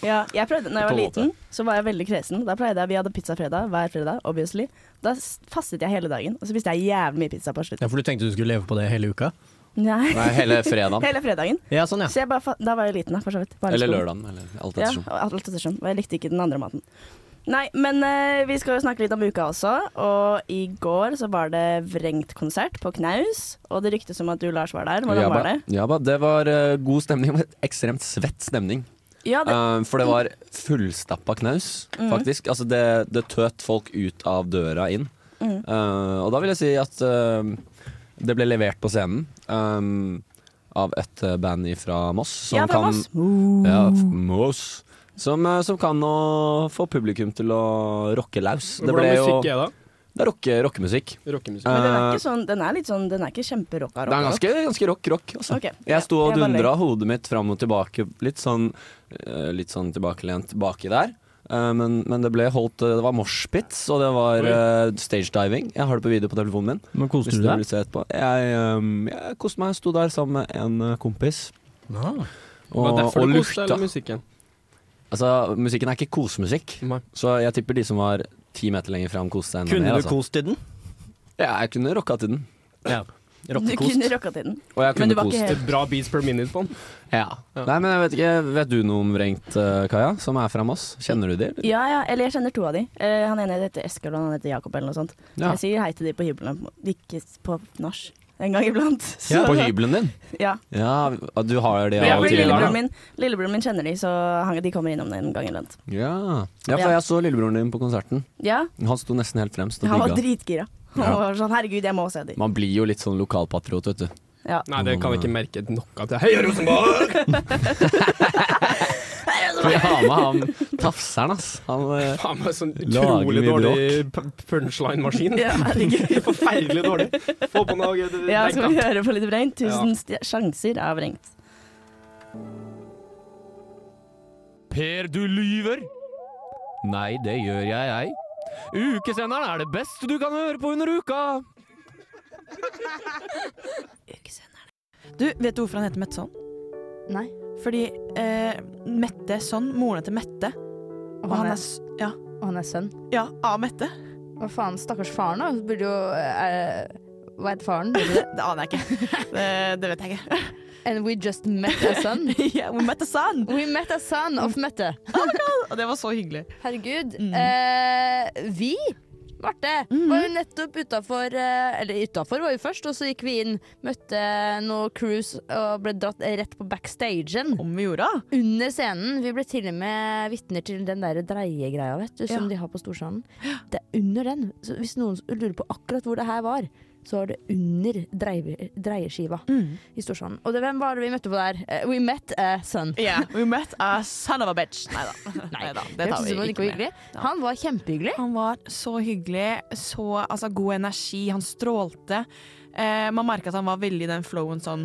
S6: Ja, jeg prøvde, når jeg
S8: På
S6: var
S8: en måte.
S6: liten, så var jeg veldig kresen. Da pleide jeg, Vi hadde pizzafredag hver fredag, obviously. Da s- fastet jeg hele dagen, og så spiste jeg jævlig mye pizza på slutten.
S5: Ja, for du tenkte du skulle leve på det hele uka?
S6: Nei.
S5: Nei, hele fredagen.
S6: hele fredagen.
S5: Ja, sånn, ja.
S6: Så jeg bare, fa- da var jeg liten, da, for så vidt. Barneskolen.
S7: Eller lørdagen, eller alt ettersom.
S6: Ja, alt ettersom. Og jeg likte ikke den andre maten. Nei, men eh, vi skal jo snakke litt om uka også. Og i går så var det Vrengt-konsert på Knaus. Og det ryktes om at du, Lars, var der. Hvordan
S7: ja,
S6: var
S7: ba.
S6: det?
S7: Ja, ba. det var eh, god stemning, men ekstremt svett stemning.
S6: Ja, det- Mm.
S7: Eh, for det var fullstappa knaus,
S6: Mhm.
S7: faktisk. Altså, det, det tøt folk ut av døra inn.
S6: Mhm.
S7: Eh, og da vil jeg si at eh, det ble levert på scenen eh, av et eh, band fra Moss.
S6: Ja, fra Moss.
S7: Ja, f- Moss. Som, eh, som kan å få publikum til å rocke laus. Det
S8: Hvordan
S7: ble jo-
S8: musikk er det?
S7: Det er rocke- rockemusikk.
S8: Rockemusikk.
S6: Men den er ikke sånn, den er litt sånn, den er ikke kjemperocka.
S7: Det eh, er ganske, ganske rock, rock. Altså.
S6: Ok, ja,
S7: Jeg sto og
S6: jeg bare-
S7: dundra hodet mitt fram og tilbake, litt sånn, eh, litt sånn tilbakelent baki der. Eh, Men, men det ble holdt eh, Det var moshpits, og det var eh, stage diving. Jeg har det på video på telefonen min.
S20: Men koste
S7: hvis
S20: du
S7: du
S20: deg?
S7: vil se etterpå. Jeg, eh, jeg koste meg. Jeg sto der sammen med en eh, kompis.
S8: Var det
S7: Og,
S8: derfor
S7: og
S8: du koste deg,
S7: lufta.
S8: eller musikken?
S7: Altså, musikken er ikke kosemusikk, så jeg tipper de som var ti meter lenger fram, koste seg enda
S5: Kunne
S7: mer.
S5: du kost
S7: til den? Ja, jeg kunne rocka til den. Ja.
S6: Du kunne rocka til den.
S7: Og jeg
S6: Men du
S7: kunne
S6: var ikke
S7: kost
S6: helt
S8: Bra beats per minute på den.
S7: Ja. Nei, men jeg vet ikke Vet du noe om Vrengt, eh, Kaja, som er fra Moss? Kjenner du de? eller?
S6: Ja, ja, eller jeg kjenner to av de. Eh, han ene heter Eskil, og han heter Jakob eller noe sånt.
S7: Ja.
S6: Jeg sier hei til de på hybelen, ikke på nach en gang iblant. Så-
S7: På hybelen din?
S6: Ja.
S7: Ja, du har de
S6: Ja,
S7: av
S6: for
S7: og til?
S6: lillebroren, min, lillebroren min kjenner de, så han, de kommer innom en gang iblant.
S7: Ja. ja, for
S6: Ja.
S7: jeg så lillebroren din på konserten.
S6: Ja,
S7: Han sto nesten helt fremst
S6: han
S7: og
S6: var
S7: digga.
S6: dritgira. Han
S7: Ja.
S6: var sånn herregud, jeg må se de.
S7: Man blir jo litt sånn lokalpatriot, vet du.
S6: Ja.
S8: Nei, det kan jeg
S7: Mm.
S8: ikke merke noe til. Heia Rosenborg!
S7: Vi har med han tafseren, ass. Han eh,
S8: Faen meg, sånn
S7: Lager
S8: utrolig
S7: mye
S8: dårlig p- punchline-maskin.
S6: Ja, herregud.
S8: Forferdelig dårlig. Få på noe
S6: Ja, skal vi
S8: Vrengt, da.
S6: høre på litt vrengt? Tusen
S8: Ja.
S6: sti- sjanser er vrengt.
S21: Per, du lyver! Nei, det gjør jeg, jeg. Ukesenderen er det beste du kan høre på under uka!
S10: Du, vet du hvorfor han heter Metteson?
S16: Nei.
S10: Fordi eh, Mette Son, moren til Mette
S16: Og
S10: han er
S16: s- ja. Og han er sønn?
S10: Ja, av Mette.
S16: Hva faen, stakkars faren da? Burde jo eh, Hva heter faren? det
S10: aner jeg ikke. Det, det vet jeg ikke.
S16: And we just met a son.
S10: yeah, we met a son.
S16: We met a son of Mette.
S10: Og det var så hyggelig.
S16: Herregud.
S10: Mm.
S16: Eh, vi, Marte, var jo nettopp utafor eh, Eller utafor var vi først, og så gikk vi inn, møtte noe cruise og ble dratt rett på backstagen.
S10: Om vi gjorde?
S16: Under scenen. Vi ble til og med vitner til den der dreiegreia, vet du, som
S10: Ja.
S16: de har på Storsalen. Det er under den. Så hvis noen lurer på akkurat hvor det her var, så var det under dreie, dreieskiva
S10: Mm.
S16: i Storsalen. Og det, hvem var det vi møtte på der? Eh, we met a son.
S10: Yeah, we met a son of a bitch. Nei da. Det
S16: Jeg
S10: tar vi
S16: synes det var
S10: ikke med.
S16: like hyggelig. Han var kjempehyggelig.
S10: Han var så hyggelig. Så altså, god energi. Han strålte. Eh, man merka at han var veldig i den flowen sånn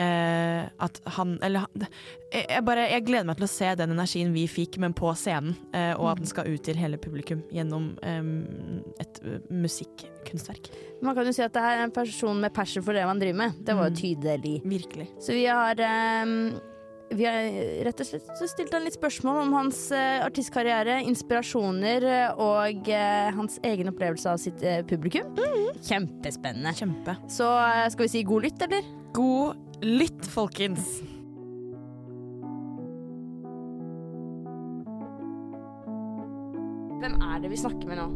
S10: eh, at han Eller han jeg, jeg bare, jeg gleder meg til å se den energien vi fikk, men på scenen. Eh, og at den skal ut til hele publikum gjennom eh, et eh, musikkunstverk.
S16: Man kan jo si at det her er en person med passion for det man driver med. Det
S10: Mm.
S16: var jo tydelig. Så vi har ehm, vi har eh, rett og slett så stilt han litt spørsmål om hans eh, artistkarriere, inspirasjoner eh, og eh, hans egen opplevelse av sitt eh, publikum.
S10: Mm-hmm.
S16: Kjempespennende. Så eh, skal vi si god lytt, eller?
S10: God lytt, folkens.
S16: Hvem er det vi snakker med nå?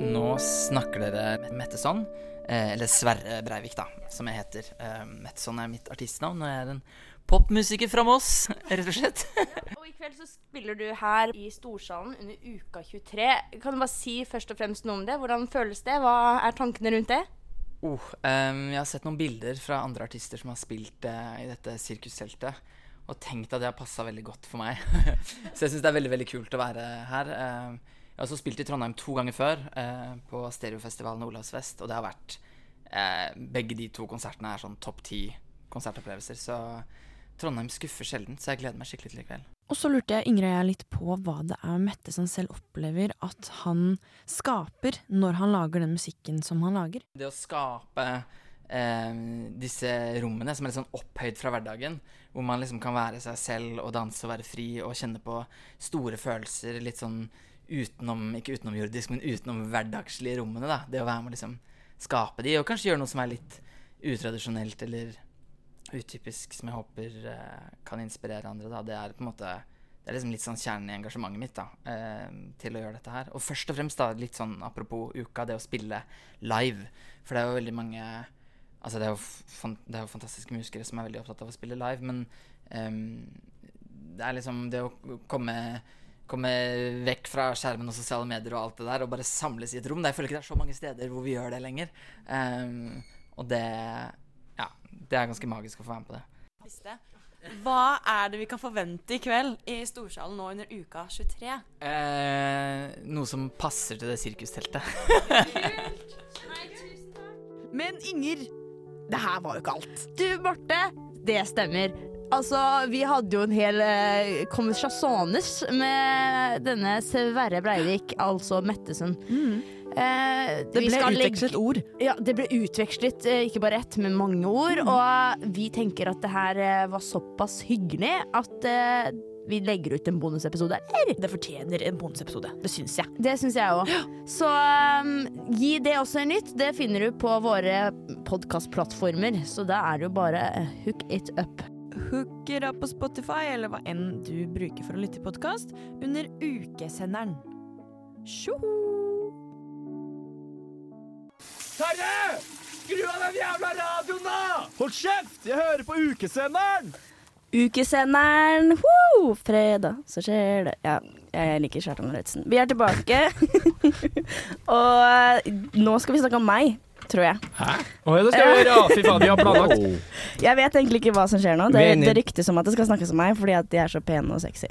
S22: Nå snakker dere med Metteson, eh, eller Sverre Breivik, da, som jeg heter. Eh, Metteson er mitt artistnavn, og jeg er en popmusiker fra Moss, rett og slett.
S16: Og i kveld så spiller du her i Storsalen under uka 23. Kan du bare si først og fremst noe om det? Hvordan føles det? Hva er tankene rundt det?
S22: Oh, ehm, jeg har sett noen bilder fra andre artister som har spilt eh, i dette sirkusteltet, og tenkt at det har passa veldig godt for meg. Så jeg syns det er veldig veldig kult å være her. Ehm, jeg har også spilt i Trondheim to ganger før, eh, på Stereofestivalen og Olavsfest, og det har vært eh, Begge de to konsertene er sånn topp ti konsertopplevelser, så Trondheim skuffer sjelden, så jeg gleder meg skikkelig til i kveld.
S10: Og så lurte jeg Ingrid og jeg litt på hva det er Mette som selv opplever at han skaper når han lager den musikken som han lager.
S22: Det å skape eh, disse rommene som er litt sånn opphøyd fra hverdagen, hvor man liksom kan være seg selv og danse og være fri og kjenne på store følelser litt sånn utenom, ikke utenomjordisk, men utenom hverdagslige rommene, da. Det å være med å liksom skape de, og kanskje gjøre noe som er litt utradisjonelt eller utypisk, som jeg håper eh, kan inspirere andre, da. Det er på en måte det er liksom litt sånn kjernen i engasjementet mitt da, eh, til å gjøre dette her. Og først og fremst da, litt sånn apropos uka, det å spille live. For det er jo veldig mange Altså det er jo, f- fan- det er jo fantastiske musikere som er veldig opptatt av å spille live, men ehm, det er liksom det å komme Komme vekk fra skjermen og sosiale medier og alt det der og bare samles i et rom. Det- Jeg føler ikke det er så mange steder hvor vi gjør det lenger. Ehm, og det Ja, det er ganske magisk å få være med på det.
S10: Hva er det vi kan forvente i kveld i Storsalen nå under uka 23?
S22: Eh, noe som passer til det sirkusteltet.
S10: Men Inger, det her var jo ikke alt.
S16: Du, Marte, det stemmer. Altså, vi hadde jo en hel eh, konversasjones med denne Sverre Breivik, altså Mettesen. Eh,
S3: Det
S16: vi
S3: ble
S16: skal legge-
S3: utvekslet ord.
S16: Ja, det ble utvekslet eh, ikke bare ett, men mange ord. Og vi tenker at det her eh, var såpass hyggelig at eh, vi legger ut en bonusepisode. Det fortjener en bonusepisode. Det syns jeg. Det syns jeg òg. Så eh, gi det også en nytt. Det finner du på våre podkastplattformer. Så da er det jo bare eh, hook it up.
S10: Hooker opp på Spotify eller hva enn du bruker for å lytte podkast under ukesenderen. Tjoho!
S9: Terje! Skru av den jævla radioen, da!
S1: Hold kjeft! Jeg hører på ukesenderen!
S6: Ukesenderen! Woo! Fredag, så skjer det Ja, jeg liker Kjartan Lauritzen. Vi er tilbake. Og nå skal vi snakke om meg, tror jeg.
S8: Hæ? Å ja, det skal vi gjøre! Fy faen, vi har planlagt.
S6: Jeg vet egentlig ikke hva som skjer nå. Det,
S8: Venner.
S6: det ryktes om at det skal snakkes om meg fordi at de er så pene og sexy.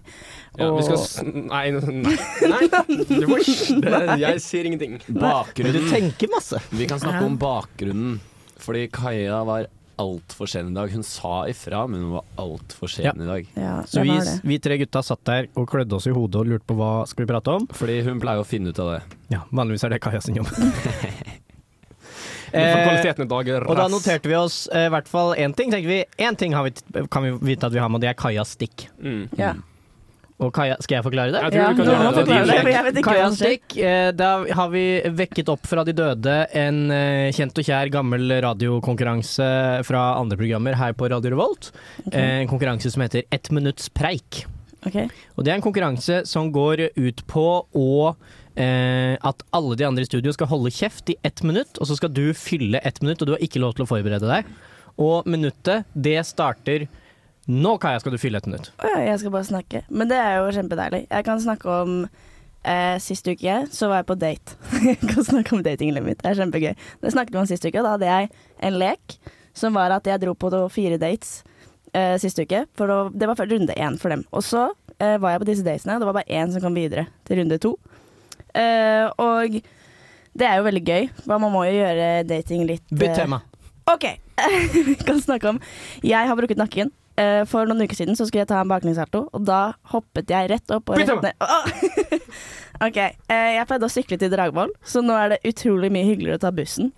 S8: Ja, vi skal
S6: Og-
S8: s... Nei, nei. nei. Det var- det- Jeg sier ingenting.
S7: Bakgrunnen
S8: Men du tenker masse.
S7: Vi kan snakke
S8: Ja.
S7: om bakgrunnen. Fordi Kaja var altfor sen i dag. Hun sa ifra, men hun var altfor sen
S5: Ja.
S7: i dag.
S5: Så vi, vi tre gutta satt der og klødde oss i hodet og lurte på hva skal vi prate om.
S7: Fordi hun pleier å finne ut av det.
S5: Ja, vanligvis er det Kaja sin jobb. Eh,
S8: Men for kvaliteten i dag er
S5: Og da
S8: rass.
S5: noterte vi oss eh, i hvert fall én ting. tenkte vi, Én ting har vi, t- kan vi vite at vi har med, og det er Kajas stikk.
S6: Ja.
S5: Og Kaja, skal jeg forklare det?
S6: Mm. Jeg tror du Ja, kan du gjøre må det. forklare det, for jeg vet ikke
S5: Kaja
S6: hva som skjer.
S5: Stikk, eh, da har vi vekket opp fra de døde en eh, kjent og kjær gammel radiokonkurranse fra andre programmer her på Radio Revolt.
S6: Ok.
S5: Eh, En konkurranse som heter Ett minutts preik.
S6: Ok.
S5: Og det er en konkurranse som går ut på å eh, at alle de andre i studio skal holde kjeft i ett minutt, og så skal du fylle ett minutt, og du har ikke lov til å forberede deg. Og minuttet, det starter nå, Kaja, skal du fylle ett minutt.
S6: Å ja, jeg skal bare snakke. Men det er jo kjempedeilig. Jeg kan snakke om eh, Sist uke jeg, så var jeg på date. jeg kan snakke om datinglivet mitt. Det er kjempegøy. Det snakket vi om sist uke, og da hadde jeg en lek som var at jeg dro på da fire dates eh, sist uke. For da, det var runde én for dem. Og så eh, var jeg på disse datene, og det var bare én som kom videre til runde to. Eh, og det er jo veldig gøy. for Man må jo gjøre dating litt
S5: Bytt
S6: eh,
S5: tema.
S6: OK. Vi kan snakke om Jeg har brukket nakken. Eh, For noen uker siden så skulle jeg ta en baklengssalto, og da hoppet jeg rett opp og
S3: Bytt tema.
S6: rett ned. Å! OK. eh, Jeg pleide å sykle til Dragvoll, så nå er det utrolig mye hyggeligere å ta bussen.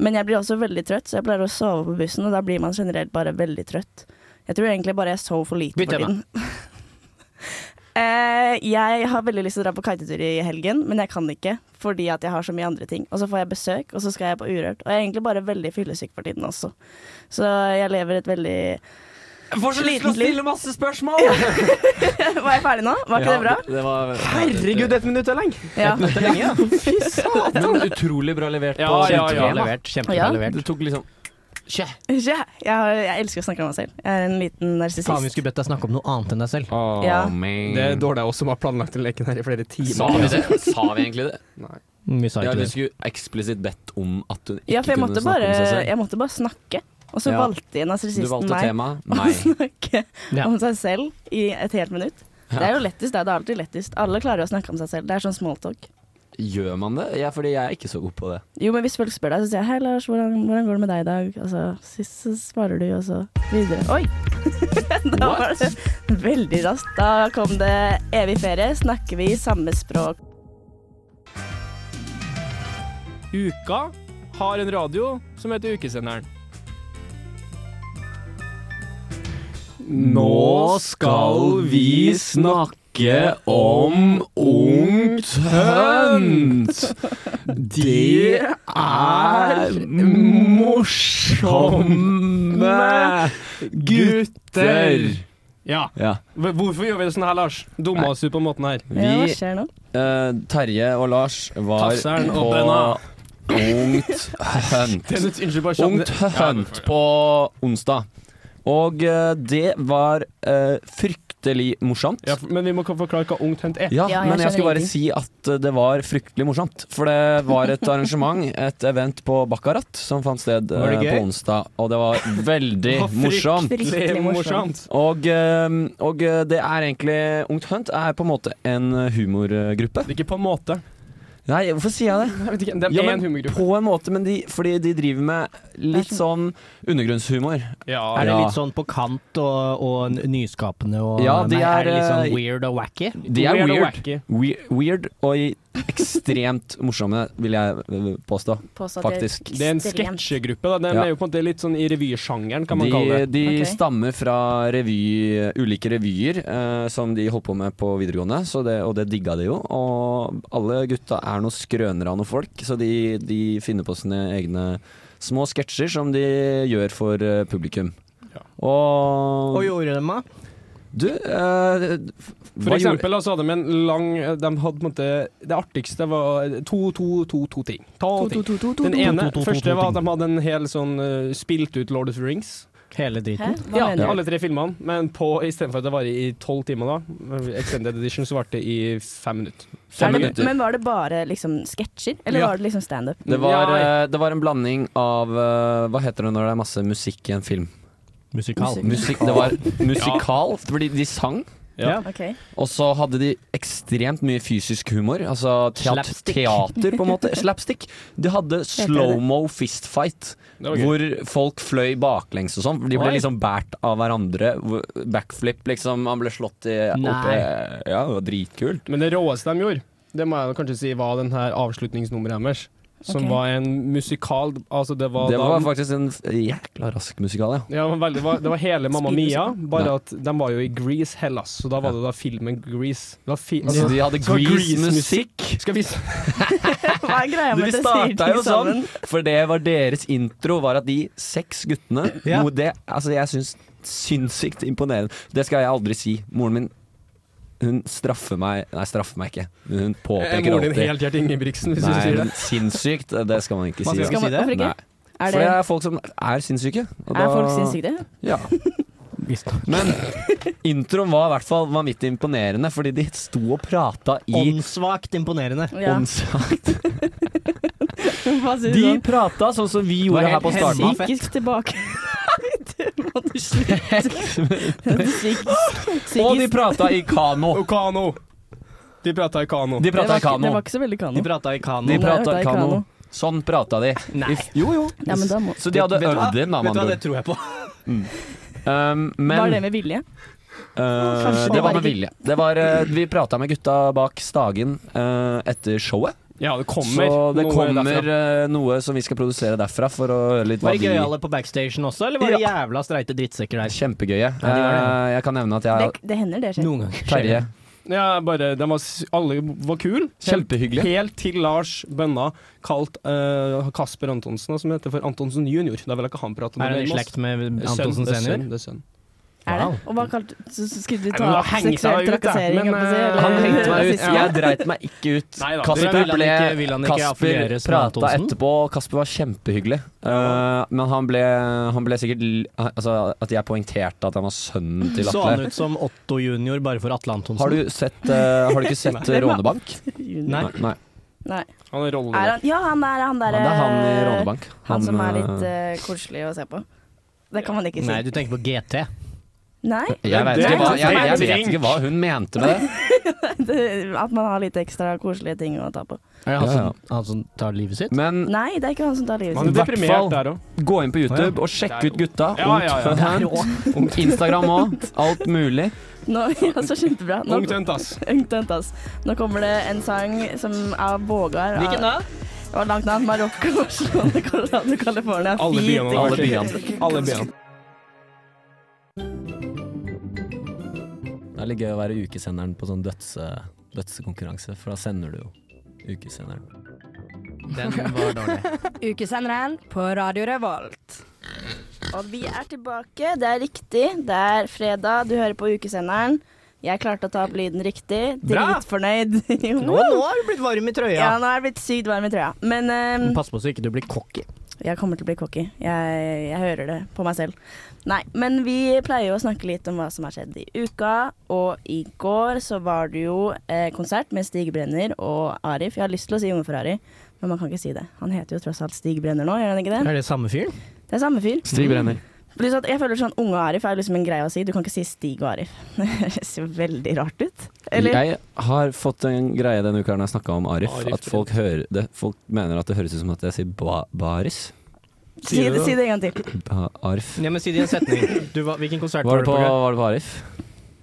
S6: Men jeg blir også veldig trøtt, så jeg pleier å sove på bussen, og da blir man generelt bare veldig trøtt. Jeg tror egentlig bare jeg sov for lite
S3: Bytt tema.
S6: for tiden. Eh, jeg har veldig lyst til å dra på kitetur i helgen, men jeg kan ikke fordi at jeg har så mye andre ting. Og så får jeg besøk, og så skal jeg på Urørt. Og jeg er egentlig bare veldig fyllesyk for tiden også. Så jeg lever et veldig
S7: Jeg får så lyst til å
S6: slitent liv.
S7: stille masse spørsmål!
S6: Var jeg ferdig nå? Var ikke det bra?
S7: Det var,
S8: Herregud, ett minutt er lenge!
S6: Ja.
S7: Et minutt er lenge, ja. Fy satan! Men utrolig bra levert.
S8: Ja,
S7: på
S8: ja, ja.
S7: tema.
S8: Levert,
S6: kjempebra Ja. levert.
S7: Du tok liksom Tje.
S6: Ja, jeg, har, jeg elsker å snakke om meg selv. Jeg er en liten
S5: Faen, vi
S6: narsissist.
S5: skulle bedt deg snakke om noe annet enn deg selv.
S6: Ja.
S8: Det er dårlig av oss som har planlagt den leken her i flere timer.
S7: Sa vi det? Sa vi egentlig det?
S8: Nei.
S23: Mm,
S5: Vi sa
S7: ja,
S5: ikke
S7: vi
S5: det.
S7: skulle eksplisitt bedt om at hun ikke
S6: Ja, for jeg
S7: kunne
S6: måtte,
S7: snakke
S6: bare,
S7: om seg selv.
S6: jeg måtte bare snakke. Og så
S7: Ja.
S6: valgte narsissisten
S7: Du valgte
S6: meg
S7: tema?
S6: å
S7: Nei.
S6: snakke
S7: Ja.
S6: om seg selv i et helt minutt. Det er jo lettest, det er det alltid lettest. Alle klarer å snakke om seg selv. Det er sånn smalltalk.
S7: Gjør man det? Ja, fordi jeg er ikke så god på det.
S6: Jo, men hvis folk spør deg, så sier jeg 'Hei, Lars, hvordan, hvordan går det med deg i dag?' Og så, sist så svarer du, og så videre. Oi! da var det veldig raskt. Da kom det evig ferie. Snakker vi samme språk?
S8: Uka har en radio som heter Ukesenderen.
S7: Nå skal vi snakke om ung tønt. De er morsomme gutter.
S8: Ja.
S7: Ja.
S8: H- Hvorfor gjør vi det sånn her, Lars? Dumma oss ut på den måten her.
S7: Vi, Ja, hva skjer
S6: nå?
S7: eh, Terje og Lars var
S8: Tasseren
S7: på
S8: og brenna.
S7: Ungt Hunt.
S8: Det er litt- unnskyld, bare kjapt.
S7: Ungt
S8: Ja,
S7: Hunt på onsdag. Og eh, det var eh, frykt fryktelig morsomt.
S8: Ja, f- men vi må k- forklare hva Ungt Hent er.
S7: Ja, men jeg skulle bare si at eh, det var fryktelig morsomt. For det var et arrangement, et event på Bakkarat, som fant sted
S8: Var det
S7: eh, på
S8: gøy?
S7: onsdag. Og det var veldig
S8: Det var
S7: morsomt.
S8: fryktelig morsomt.
S7: Og, eh, og eh, det er egentlig Ungt Hunt er på en måte en eh, humorgruppe.
S8: Ikke på en måte.
S7: Nei, hvorfor sier jeg det?
S8: Jeg vet ikke, det er
S7: Ja,
S8: en
S7: men
S8: humorgruppe.
S7: På en måte, men de, fordi de driver med litt sånn undergrunnshumor.
S23: Er det
S7: Ja.
S23: litt sånn på kant og, og nyskapende og
S7: Ja, de
S23: nei, er, det litt
S7: eh,
S23: sånn weird og wacky?
S7: De er weird.
S23: og
S7: Weird og, weird og i- ekstremt morsomme, vil jeg eh, påstå.
S6: Påstå at det er
S7: Faktisk.
S6: ekstremt.
S8: Det er en sketsjegruppe. da. Den
S7: Ja.
S8: er jo på en måte litt sånn i revysjangeren, kan man kalle
S7: De,
S8: det.
S7: de stammer fra revy, ulike revyer eh, som de holdt på med på videregående, så det, og det digga de jo. Og alle gutta er noe skrønere av noen folk, så de, de finner på sine egne små sketsjer som de gjør for eh, publikum. Og,
S23: Og gjorde de det?
S7: du eh, f-
S8: For
S7: hva gjorde-
S8: eksempel da, så altså, hadde de en lang De hadde på en måte Det artigste var eh, to, to, to, to ting. To,
S23: To, to, to, to, to,
S8: Den
S23: to,
S8: ene
S23: to, to, to,
S8: første
S23: to
S8: var at
S23: ting.
S8: de hadde en hel sånn eh, spilt ut Lord of the Rings.
S23: Hele driten?
S8: Ja, alle tre filmene, men på, istedenfor at det varer i tolv timer, da Extended Edition, så varte det i fem minutter.
S6: Er det, men var det bare liksom sketsjer, eller
S8: Ja.
S6: var det liksom standup?
S7: Det var, eh, det var en blanding av eh, Hva heter det når det er masse musikk i en film?
S23: Musikal.
S7: Musik, det var musikal, fordi de sang.
S6: Ja. Ok.
S7: Og så hadde de ekstremt mye fysisk humor. Altså teat
S6: Slapstick.
S7: teater, på en måte. Slapstick. De hadde
S8: Heter det det?
S7: slow-mo fistfight,
S8: Det var gøy.
S7: hvor folk fløy baklengs og sånn. De ble
S8: Oi.
S7: liksom båret av hverandre. Hvor- Backflip, liksom. Han ble slått i
S8: Nei.
S7: opp i- Ja, det var dritkult.
S8: Men det råeste de gjorde, det må jeg kanskje si var den her avslutningsnummeret deres. Som
S7: Ok.
S8: var en musikal Altså, det var,
S7: Det
S8: da-
S7: var faktisk en f- jækla rask musikal, ja.
S8: ja, men veldig, det var, det var hele Mamma Mia,
S6: liksom.
S7: Speedmusikal.
S8: bare
S7: Ja.
S8: at de var jo i Grease, Hellas, så da var det da filmen Grease. Det var fi,
S7: Så Altså, de hadde
S8: så var
S7: Grease-musikk?
S8: Grease-musikk. Skal vi s-
S6: Hva er greia
S7: Du,
S6: med
S7: vi
S6: at dere sier
S7: starta
S6: ting
S7: jo sånn,
S6: sammen?
S7: for det var deres intro, var at de seks guttene
S6: Ja.
S7: noe det, altså Jeg syns sinnssykt imponerende. Det skal jeg aldri si. Moren min hun straffer meg Nei, straffer meg ikke. Men Hun
S8: Er
S7: påpeker
S8: Eh, moren din
S7: alltid
S8: helt Gjert Ingebrigtsen, hvis du
S7: Nei,
S8: sier det?
S7: men Sinnssykt, det skal man ikke
S8: Man
S7: si.
S8: skal ikke si det? Hvorfor ikke?
S7: Nei.
S8: Er
S7: For
S8: det-
S7: det er folk som er sinnssyke. og
S6: Er
S7: da-
S6: folk sinnssyke?
S7: Ja. Men introen var i hvert fall vanvittig imponerende, fordi de sto og prata i
S23: Åndssvakt imponerende.
S7: Ja.
S6: Hva sier du
S7: De
S6: sånn?
S7: prata sånn som vi gjorde her på Startbanen.
S6: Psykisk tilbake. det må du slutte. Psykisk.
S7: Og de prata i kano.
S8: Og kano. De prata i kano.
S7: De prata i kano.
S6: ikke så veldig kano.
S23: De prata i kano.
S7: De prata i kano. Sånn prata de. I f- Jo, jo.
S6: Ja, men da må-
S7: Så de hadde
S23: Vet du hva?
S7: øvd inn, da,
S23: Vet
S7: med
S23: du hva,
S7: andre
S23: det tror jeg på.
S7: ord. Um, men
S6: Var det med vilje?
S7: eh, det var med vilje. Det var, eh, vi prata med gutta bak Stagen eh, etter showet.
S8: Ja, det kommer
S7: Så det
S8: noe
S7: kommer
S8: derfra.
S7: eh, noe som vi skal produsere derfra, for å høre litt hva
S23: Var det
S7: de
S23: gøyale på backstation også, eller var det jævla streite drittsekker der?
S7: Kjempegøye.
S23: Ja, de var det.
S7: Eh, jeg kan nevne at jeg
S6: Det, det hender det skjer.
S23: Noen ganger.
S7: Terje.
S8: Ja, bare, de var, s- alle var kule.
S7: Kjempehyggelig.
S8: Helt til Lars Bønna kalt eh, Kasper Antonsen, da, som heter for Antonsen junior. Da vil jeg ikke han prate
S23: Er han i
S8: mer med oss.
S23: slekt med
S8: Sønn,
S23: Antonsen
S8: det er
S23: senior?
S8: sønn, Det er sønn.
S6: Er det? Og hva kalte så- så Skulle du
S8: Nei,
S6: ta
S8: men nå
S6: opp
S8: henger seg
S6: seksuell
S8: ut, da.
S6: trakassering?
S8: Men,
S6: holdt på å si,
S8: eh,
S6: eller-
S7: Han hengte meg ut,
S6: rasisme?
S7: jeg dreit meg ikke ut.
S8: Nei da, det
S7: Kasper
S8: vil han
S7: ble
S8: ikke- vil han ikke
S7: Kasper
S8: appellere som
S7: prata
S8: Antonsen?
S7: etterpå, og Kasper var kjempehyggelig. Eh, men han ble, han ble sikkert l- Altså, at jeg poengterte at han var sønnen Eh, til
S23: Så han
S7: Atle.
S23: ut som Otto junior bare for Atle Antonsen?
S7: Har du sett eh, Har du ikke sett
S23: Nei.
S7: Rånebank?
S23: Nei.
S7: Nei.
S6: Nei.
S8: Han er
S6: Er han, ja, han er han der
S7: Han er han i
S6: eh,
S7: Rånebank.
S6: Han som er
S7: Han,
S6: litt
S7: eh,
S6: eh, koselig å se på. Det kan man ikke si.
S23: Nei, du tenker på GT.
S6: Nei?
S7: Jeg vet,
S6: Det er
S7: ikke hva,
S6: han som
S7: jeg,
S6: er
S7: jeg
S6: litt-
S7: vet ikke hva hun mente med det.
S6: Det- At man har litt ekstra koselige ting å ta på.
S23: Er det han som, han som tar livet sitt?
S7: Men
S6: Nei, det er ikke han som tar livet
S7: i
S6: sitt.
S7: hvert fall, gå inn på YouTube og sjekk ut gutta.
S8: Ja, ja, ja.
S7: Ungt Fun
S8: Der
S7: Hunt. Instagram òg. Alt mulig.
S6: Nå, ja, så kjempebra. Nå,
S8: Ungt Hent, ass.
S6: Ungt Hent, ass. Nå kommer det en sang som av Vågar. av-
S8: Hvilken da?
S6: Det var langt navn. Marokko, Barcelona, Colorado, California.
S8: Alle
S6: Fint,
S8: byene.
S6: ikke?
S8: Alle byene. Alle byene.
S7: Det er litt gøy å være ukesenderen på sånn dødse, dødsekonkurranse, for da sender du jo ukesenderen. Den var dårlig.
S24: Ukesenderen på Radio Revolt.
S6: Og vi er tilbake. Det er riktig. Det er fredag. Du hører på ukesenderen. Jeg klarte å ta opp lyden riktig.
S23: Bra!
S6: Dritfornøyd.
S23: Nå, nå har du blitt varm i trøya.
S6: Ja, nå er jeg blitt sykt varm i trøya. Men ehm,
S23: Pass på så ikke du blir cocky.
S6: Jeg kommer til å bli cocky. Jeg, jeg hører det på meg selv. Nei, men vi pleier jo å snakke litt om hva som har skjedd i uka. Og i går så var det jo eh, konsert med Stig Brenner og Arif. Jeg har lyst til å si Unge for Ari, men man kan ikke si det. Han heter jo tross alt Stig Brenner nå, gjør han ikke det?
S5: Er det samme fyren? Mm.
S6: Det er samme fyr.
S5: Stig Brenner.
S6: Pluss at jeg føler sånn Unge og Arif er jo liksom en greie å si. Du kan ikke si Stig og Arif. Det ser veldig rart ut.
S7: Jeg har fått en greie denne uka her når jeg snakka om Arif,
S6: Arif,
S7: at folk, hører det, folk mener at det høres ut som at jeg sier ba Baris.
S6: Si det, si det en gang til.
S7: Ba Arif.
S5: Ja, men si det i en setning. Du, var- hvilken konsert
S7: Var det på,
S5: Geir?
S7: var det på Arif?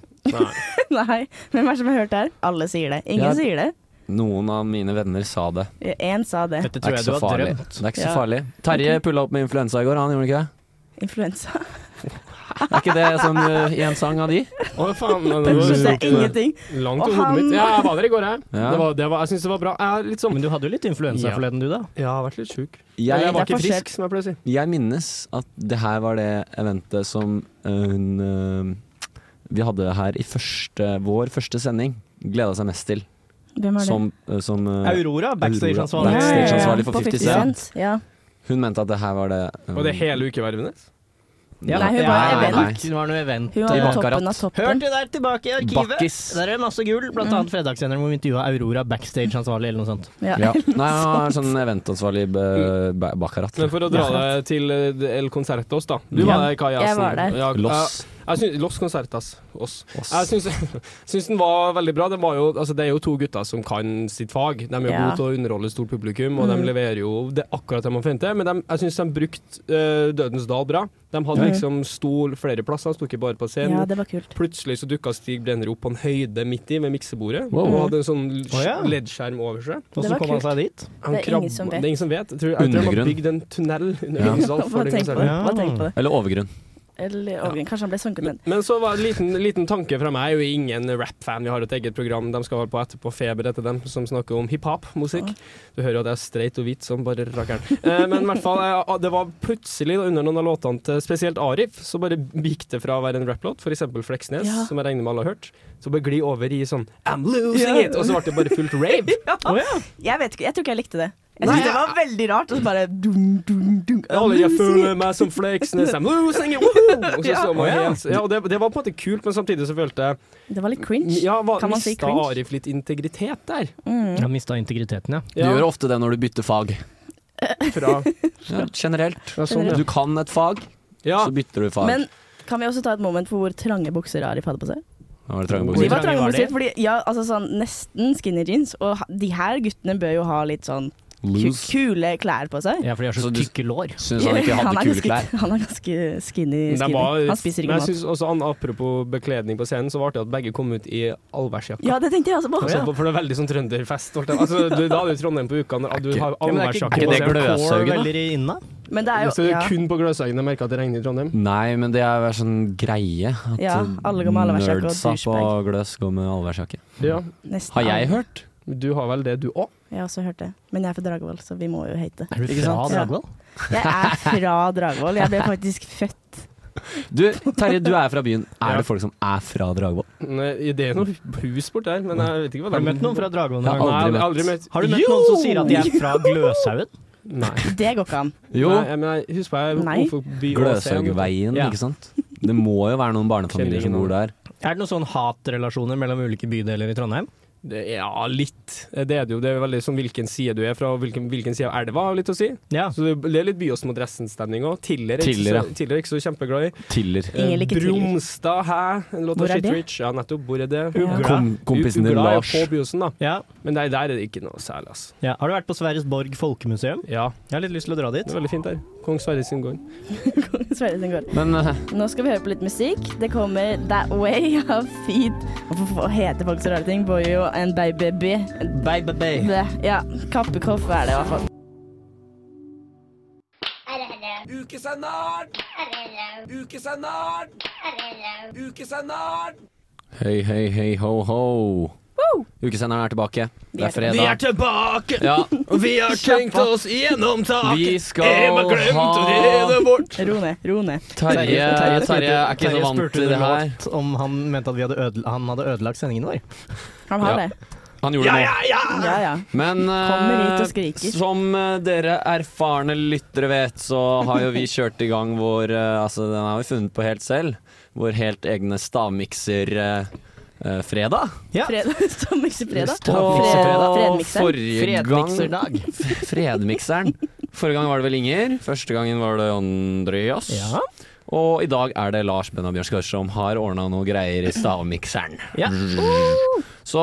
S6: Nei, hvem er det som har hørt det her? Alle sier det. Ingen
S7: Ja.
S6: sier det.
S7: Noen av mine venner sa det.
S6: Én sa det.
S7: Det er ikke så farlig. Det er ikke så farlig. Terje pulla opp med influensa i går, han gjorde ikke det?
S6: Influensa.
S7: Er ikke det sånn uh, i en sang av de?
S8: Å, faen. det var- eh,
S7: Punches er ingenting.
S8: Langt
S7: Og
S8: over hodet
S7: han-
S8: mitt. Ja, jeg var der i går, jeg.
S7: Ja.
S8: Det var, det var, jeg syns det var bra. Jeg er litt sånn
S5: Men du hadde jo litt influensa
S8: Ja.
S5: forleden, du da?
S8: Ja, jeg har vært litt sjuk.
S7: Jeg-
S8: Eller jeg var
S7: Det er
S8: ikke
S7: forskjell.
S8: frisk, som jeg pleier å si.
S7: Jeg minnes at det her var det eventet som eh, hun eh, vi hadde her i første, vår første sending, gleda seg mest til.
S6: Hvem er det?
S7: Som, eh, som, eh,
S5: Aurora, backstageansvarlig.
S7: Aurora, backstageansvarlig
S6: På
S7: for
S6: 50
S7: 50 Cent.
S6: Cent. Ja.
S7: Hun mente at det her var det eh,
S8: Var det hele ukevervet hennes?
S5: Ja,
S7: Nei, hun
S5: det
S7: var
S5: er-
S7: event.
S5: Hun var noe event.
S7: Hun var
S5: eh,
S7: på toppen Mm. av
S6: toppen.
S5: Hør til der tilbake i arkivet!
S7: Bakkis.
S5: Der er det masse gull, blant annet fredagssenderen hvor vi intervjua Aurora backstage-ansvarlig eller noe sånt.
S7: Ja. Nei, han er sånn eventansvarlig eh, ba- Baccarat.
S8: Men for å dra deg til eh, El Concertos, da.
S7: Ja.
S8: Du var der, Kai
S7: Jeg
S8: Assen.
S7: var der.
S8: Ja,
S7: Los.
S8: Jeg, jeg syns- Los Concertas. Oss. Jeg syns, syns den var veldig bra. Den var jo, altså, det er jo to gutter som kan sitt fag. De er jo
S7: Ja.
S8: gode til å underholde et stort publikum, og
S7: Mm.
S8: de leverer jo det akkurat det man forventer. Men de, jeg syns de brukte eh, Dødens dal bra. De hadde
S6: Mm.
S8: liksom stol flere plasser, de sto ikke bare på scenen.
S6: Ja, det var kult.
S8: Plutselig så dukka Stig Brenner opp på en høyde midt i ved miksebordet,
S7: Wow.
S8: og hadde en sånn
S7: Å, ja.
S8: LED-skjerm over seg.
S5: Hvordan Det var kom han kult. seg dit?
S8: Han
S5: Det er ingen som
S8: krabba-
S5: vet.
S8: Det er ingen som vet. Jeg tror, jeg tror de har
S7: Undergrunn.
S8: bygd en tunnel under
S7: Ja.
S8: Dødens dal.
S6: Bare
S8: for den
S6: tenk på
S8: konserten.
S6: det. Bare tenk på det.
S7: Eller overgrunn.
S6: Eller Ågen. Kanskje han ble sunket ned.
S8: Men så var en liten, liten tanke fra meg. Jeg er jo ingen rap-fan. Vi har et eget program de skal være på etterpå, Feber etter dem, som snakker om hiphop-musikk. Du hører jo at jeg er streit og hvit som bare rakkeren. Eh, men i hvert fall, eh, det var plutselig, da, under noen av låtene til spesielt Arif, så bare gikk det fra å være en rap-låt, f.eks. Fleksnes,
S7: Ja.
S8: som jeg regner med alle har hørt, så bare gli over i sånn I'm losing
S6: Ja.
S8: it! Og så ble det bare fullt rave.
S6: Jeg vet ikke, jeg tror ikke jeg likte det. Jeg
S8: Nei,
S6: synes det var veldig rart. Og så bare dum, dum, dum.
S8: Alle jeg føler meg som Fleksnes, I'm losing it! Woohoo! Og så så man
S6: Ja.
S8: helt Ja, og det, det var på en måte kult, men samtidig så følte jeg
S6: Det var litt cringe.
S8: Ja, hva,
S6: kan man si
S8: mista
S6: cringe? Mm.
S8: Arif litt integritet der?
S5: Han mista integriteten, ja.
S7: Du gjør ofte det når du bytter fag. Ja, generelt.
S6: sånn, ja.
S7: Du kan et fag, så bytter du fag.
S6: Men kan vi også ta et moment for hvor trange bukser Arif hadde på seg?
S7: Da var det trange
S6: De
S7: bukser.
S6: var trange bukser, fordi ja, altså sånn nesten skinny jeans. Og ha- de her guttene bør jo ha litt sånn ku
S7: Loose.
S6: kule klær på seg.
S5: Ja, for de har så, tykke lår.
S7: Syns han ikke
S6: Han
S7: hadde
S6: er
S7: kule
S6: ganske-
S7: klær.
S6: Han er ganske skinny.
S8: Men det
S6: skinny.
S8: var-
S6: Han spiser
S8: men
S6: ikke
S8: jeg synes
S6: mat.
S8: også, an- Apropos bekledning på scenen, så var det at begge kom ut i allværsjakka.
S6: Ja, det tenkte jeg også på.
S8: Altså, for det er veldig sånn trønderfest. holdt jeg- Altså, du, da er det jo Trondheim på uka når
S5: Ja, men
S8: du har
S5: det er ikke-
S8: allværsjakke
S5: er ikke det
S8: på
S5: Gløshaugen, da?
S8: scenen.
S5: Veldig inn, da?
S6: Men det er jo-
S8: Så det
S6: ja.
S8: er kun på Gløshaugen jeg merker at det regner i Trondheim.
S7: Nei, men det er en sånn greie. At
S6: Ja, alle går med allværsjakke og
S7: nerdsa på
S6: douchebag.
S7: gløs går med allværsjakke.
S8: Ja.
S6: Nesten
S7: Har jeg
S6: alle.
S7: hørt?
S8: Du har vel det, du òg?
S6: Jeg har også hørt det. Men jeg er fra Dragvoll, så vi må jo hate.
S7: Er du Ikke fra sant? Dragvoll?
S6: Ja. Jeg er fra Dragvoll. Jeg ble faktisk født
S7: Du, Terje, du er fra byen. Er det folk som er fra Dragvoll?
S8: Nei, Det er noe hus bort der, men jeg vet ikke hva
S5: Har
S8: det
S5: du møtt noen fra Dragvoll?
S8: Jeg har aldri, aldri møtt
S5: Har du møtt noen som sier at de er fra Gløshaugen?
S8: Nei.
S6: Det går ikke an.
S7: Jo.
S8: Nei, men jeg- husk på jeg
S6: Nei.
S8: hvorfor by og scene-
S7: Gløshaugveien,
S5: Ja.
S7: ikke sant? Det må jo være noen barnefamilier som bor der.
S5: Er det noen sånn hatrelasjoner mellom ulike bydeler i Trondheim?
S8: Det, ja, litt. Det er det jo. Det er veldig sånn hvilken side du er fra, og hvilken, hvilken side av elva, har litt å si. Så det, det er litt Byås mot resten-stemning òg. Tiller er ikke
S7: Tiller, ja.
S8: så- Tiller er ikke så kjempeglad i.
S7: Tiller.
S8: Eh, Bromstad, hæ? En låt av
S7: Hvor er
S8: Shit
S7: det?
S8: Rich. Ja, nettopp. Hvor er det?
S5: Ugla.
S7: Kom- kompisen din
S8: Ugla er
S7: Lars.
S8: På Byåsen, da. Men der, der er det ikke noe særlig, altså.
S5: Ja. Har du vært på Sverresborg folkemuseum?
S8: Ja.
S5: Jeg har litt lyst til å dra dit.
S8: Det er veldig fint der. Kong Sverre sin gård.
S6: Sverre sin gård.
S7: Men eh,
S6: Nå skal vi høre på litt musikk. Det kommer That Way av Feed. Hvorfor heter folk så rare ting? Boyo and Baby.
S5: Baby.
S6: Ja. Kappekoff er det i hvert fall.
S9: Ukesenderen! Ukesenderen! Ukesenderen!
S7: hei, hei, hei, ho, ho. Ukesenderen er tilbake. Det er fredag.
S25: Vi er tilbake!
S7: Ja.
S25: Og vi har tenkt oss gjennom taket.
S7: Vi skal
S25: Em har glemt
S7: ha-
S25: å rene bort.
S6: Ro ned, ro ned.
S7: Terje- Terje er ikke så vant til det her.
S5: Om han mente at vi hadde ødel han hadde ødelagt sendingen vår.
S6: Han har det.
S7: Han gjorde det nå.
S10: Ja, ja.
S7: Men
S10: Kommer hit og
S7: eh,
S10: skriker.
S7: som eh, dere erfarne lyttere vet, så har jo vi kjørt i gang vår eh, Altså, den har vi funnet på helt selv. Vår helt egne eh, stavmikser-fredag.
S6: Fredag. Stavmiksefredag.
S7: Og
S6: Fredmikseren.
S7: forrige gang Fredmikseren. Forrige gang var det vel Inger, første gangen var det Andreas. Og i dag er det Lars Benna Bjørsgaard som har ordna noe greier i stavmikseren. Så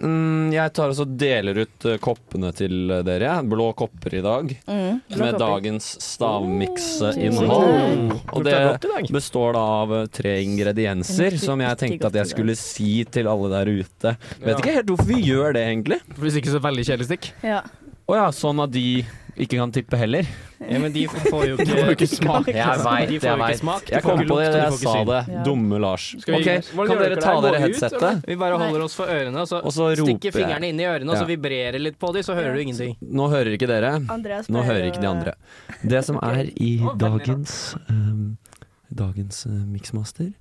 S7: mm, jeg tar også og deler ut eh, koppene til dere. Blå kopper i dag.
S6: Mm,
S7: med
S6: blå kopper.
S7: dagens
S6: tusen
S7: Mm. stavmikseinnhold.
S6: takk.
S7: Og
S6: Gjort deg godt
S7: det består da av eh, tre ingredienser som jeg tenkte at jeg skulle si til alle der ute. Vet ikke helt hvorfor vi gjør det, egentlig. Hvis ikke så veldig kjedelig stikk.
S6: Ja.
S7: Å ja, sånn at de ikke kan tippe heller?
S6: Ja, men de får jo ikke-
S7: De får jo ikke smak.
S6: De
S7: Jeg
S6: får
S7: veit,
S6: ikke
S7: jeg veit.
S6: smak, de
S7: Jeg
S6: får
S7: kom
S6: ikke
S7: på det da
S6: lukt, og de
S7: jeg
S6: får
S7: sa
S6: ikke
S7: det.
S6: syn. Ja.
S7: Dumme Lars.
S5: Skal vi-
S7: Ok,
S5: hvordan
S7: Kan
S5: gjør
S7: dere
S5: dere
S7: ta
S5: det? Gå
S7: dere
S5: ut, eller?
S7: headsettet?
S5: Vi bare holder oss for ørene, og så,
S7: Og så roper
S5: stikker
S7: jeg.
S5: fingrene inn i ørene, og så
S7: Ja.
S5: vibrerer litt på dem, så hører du ingenting.
S7: Nå hører ikke dere.
S5: Andreas
S7: Nå
S5: pleier
S7: hører ikke de andre.
S6: eh,
S7: Det som er i dagens um, Dagens eh, miksmaster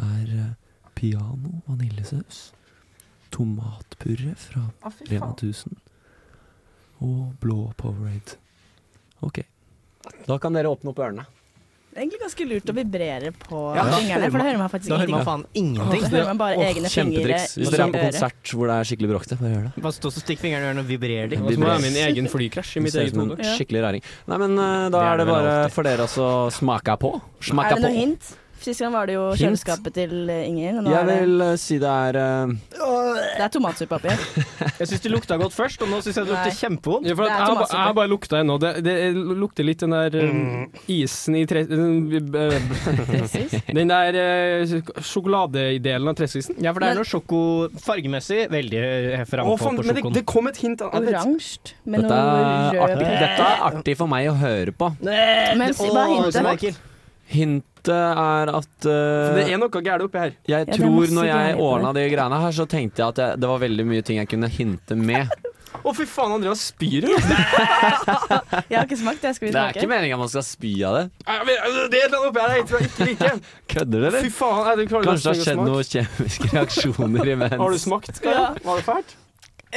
S7: er eh, piano vaniljesaus, tomatpurre fra
S9: Å, fy faen.
S7: Rema 1000 og blå Powerade. OK. Da kan dere åpne opp ørene.
S6: Det er egentlig ganske lurt å vibrere på
S7: Ja, da
S6: fingrene,
S7: hører
S6: for da
S7: man-
S6: hører man faktisk
S7: da hører man faen ingenting.
S6: Da hører man bare
S7: Åh,
S6: egne fingre
S7: Kjempetriks. Hvis dere er på konsert hvor det er skikkelig bråkete, bare gjør det.
S5: Bare stå og stikk fingrene i ørene og vibrer dem.
S7: Det blir bra. Det ser ut som en Skikkelig ræring. Nei, men eh, da
S5: Det er
S7: er det
S5: det vel
S7: bare for dere også å smake på. Smake
S6: Er det
S7: på.
S6: noe hint? Sist gang var det jo
S7: Hint?
S6: kjøleskapet til eh, Inger. og Nå
S7: Jeg
S6: er det,
S7: vil eh, si det er eh,
S6: det er tomatsuppeoppgjør.
S5: Jeg syns det lukta godt først, og nå syns jeg det lukter kjempevondt.
S8: Ja, for at jeg, har ba- jeg har bare lukta ennå. Det, det lukter litt den der um, isen i tre... um, den-
S5: Tressis?
S8: Den der eh, sjokoladeidelen av tressisen.
S5: Ja, for det er noe sjoko fargemessig veldig
S8: eh,
S5: frampå
S8: Å, faen,
S5: på
S8: men det-
S5: sjokoen.
S8: det kom et hint.
S6: Oransje med
S7: dette,
S6: noe
S7: er
S6: rød
S7: artig, dette er artig for meg å høre på.
S6: Men si- hva er hintet?
S7: Hintet er at eh,
S8: Det er noe gærent oppi her.
S7: Jeg
S8: Ja, det er
S7: tror
S8: masse
S7: når
S8: greier
S7: jeg
S8: på
S7: ordna de greiene her, så tenkte jeg at jeg, det var veldig mye ting jeg kunne hinte med.
S8: Å, fy faen, Andreas spyr, jo!
S6: Jeg har ikke smakt det. Skal vi
S7: Det er
S6: smake?
S7: ikke meninga man skal spy av det.
S8: Nei, men, altså, Det er et eller annet oppi her jeg tror jeg ikke liker.
S7: Kødder du,
S8: Fy
S7: eller?
S8: faen, nei, du klarer ikke å
S7: Kanskje det har skjedd
S8: smak.
S7: noen kjemiske reaksjoner imens.
S8: Har du smakt, Kaja? Var det fælt?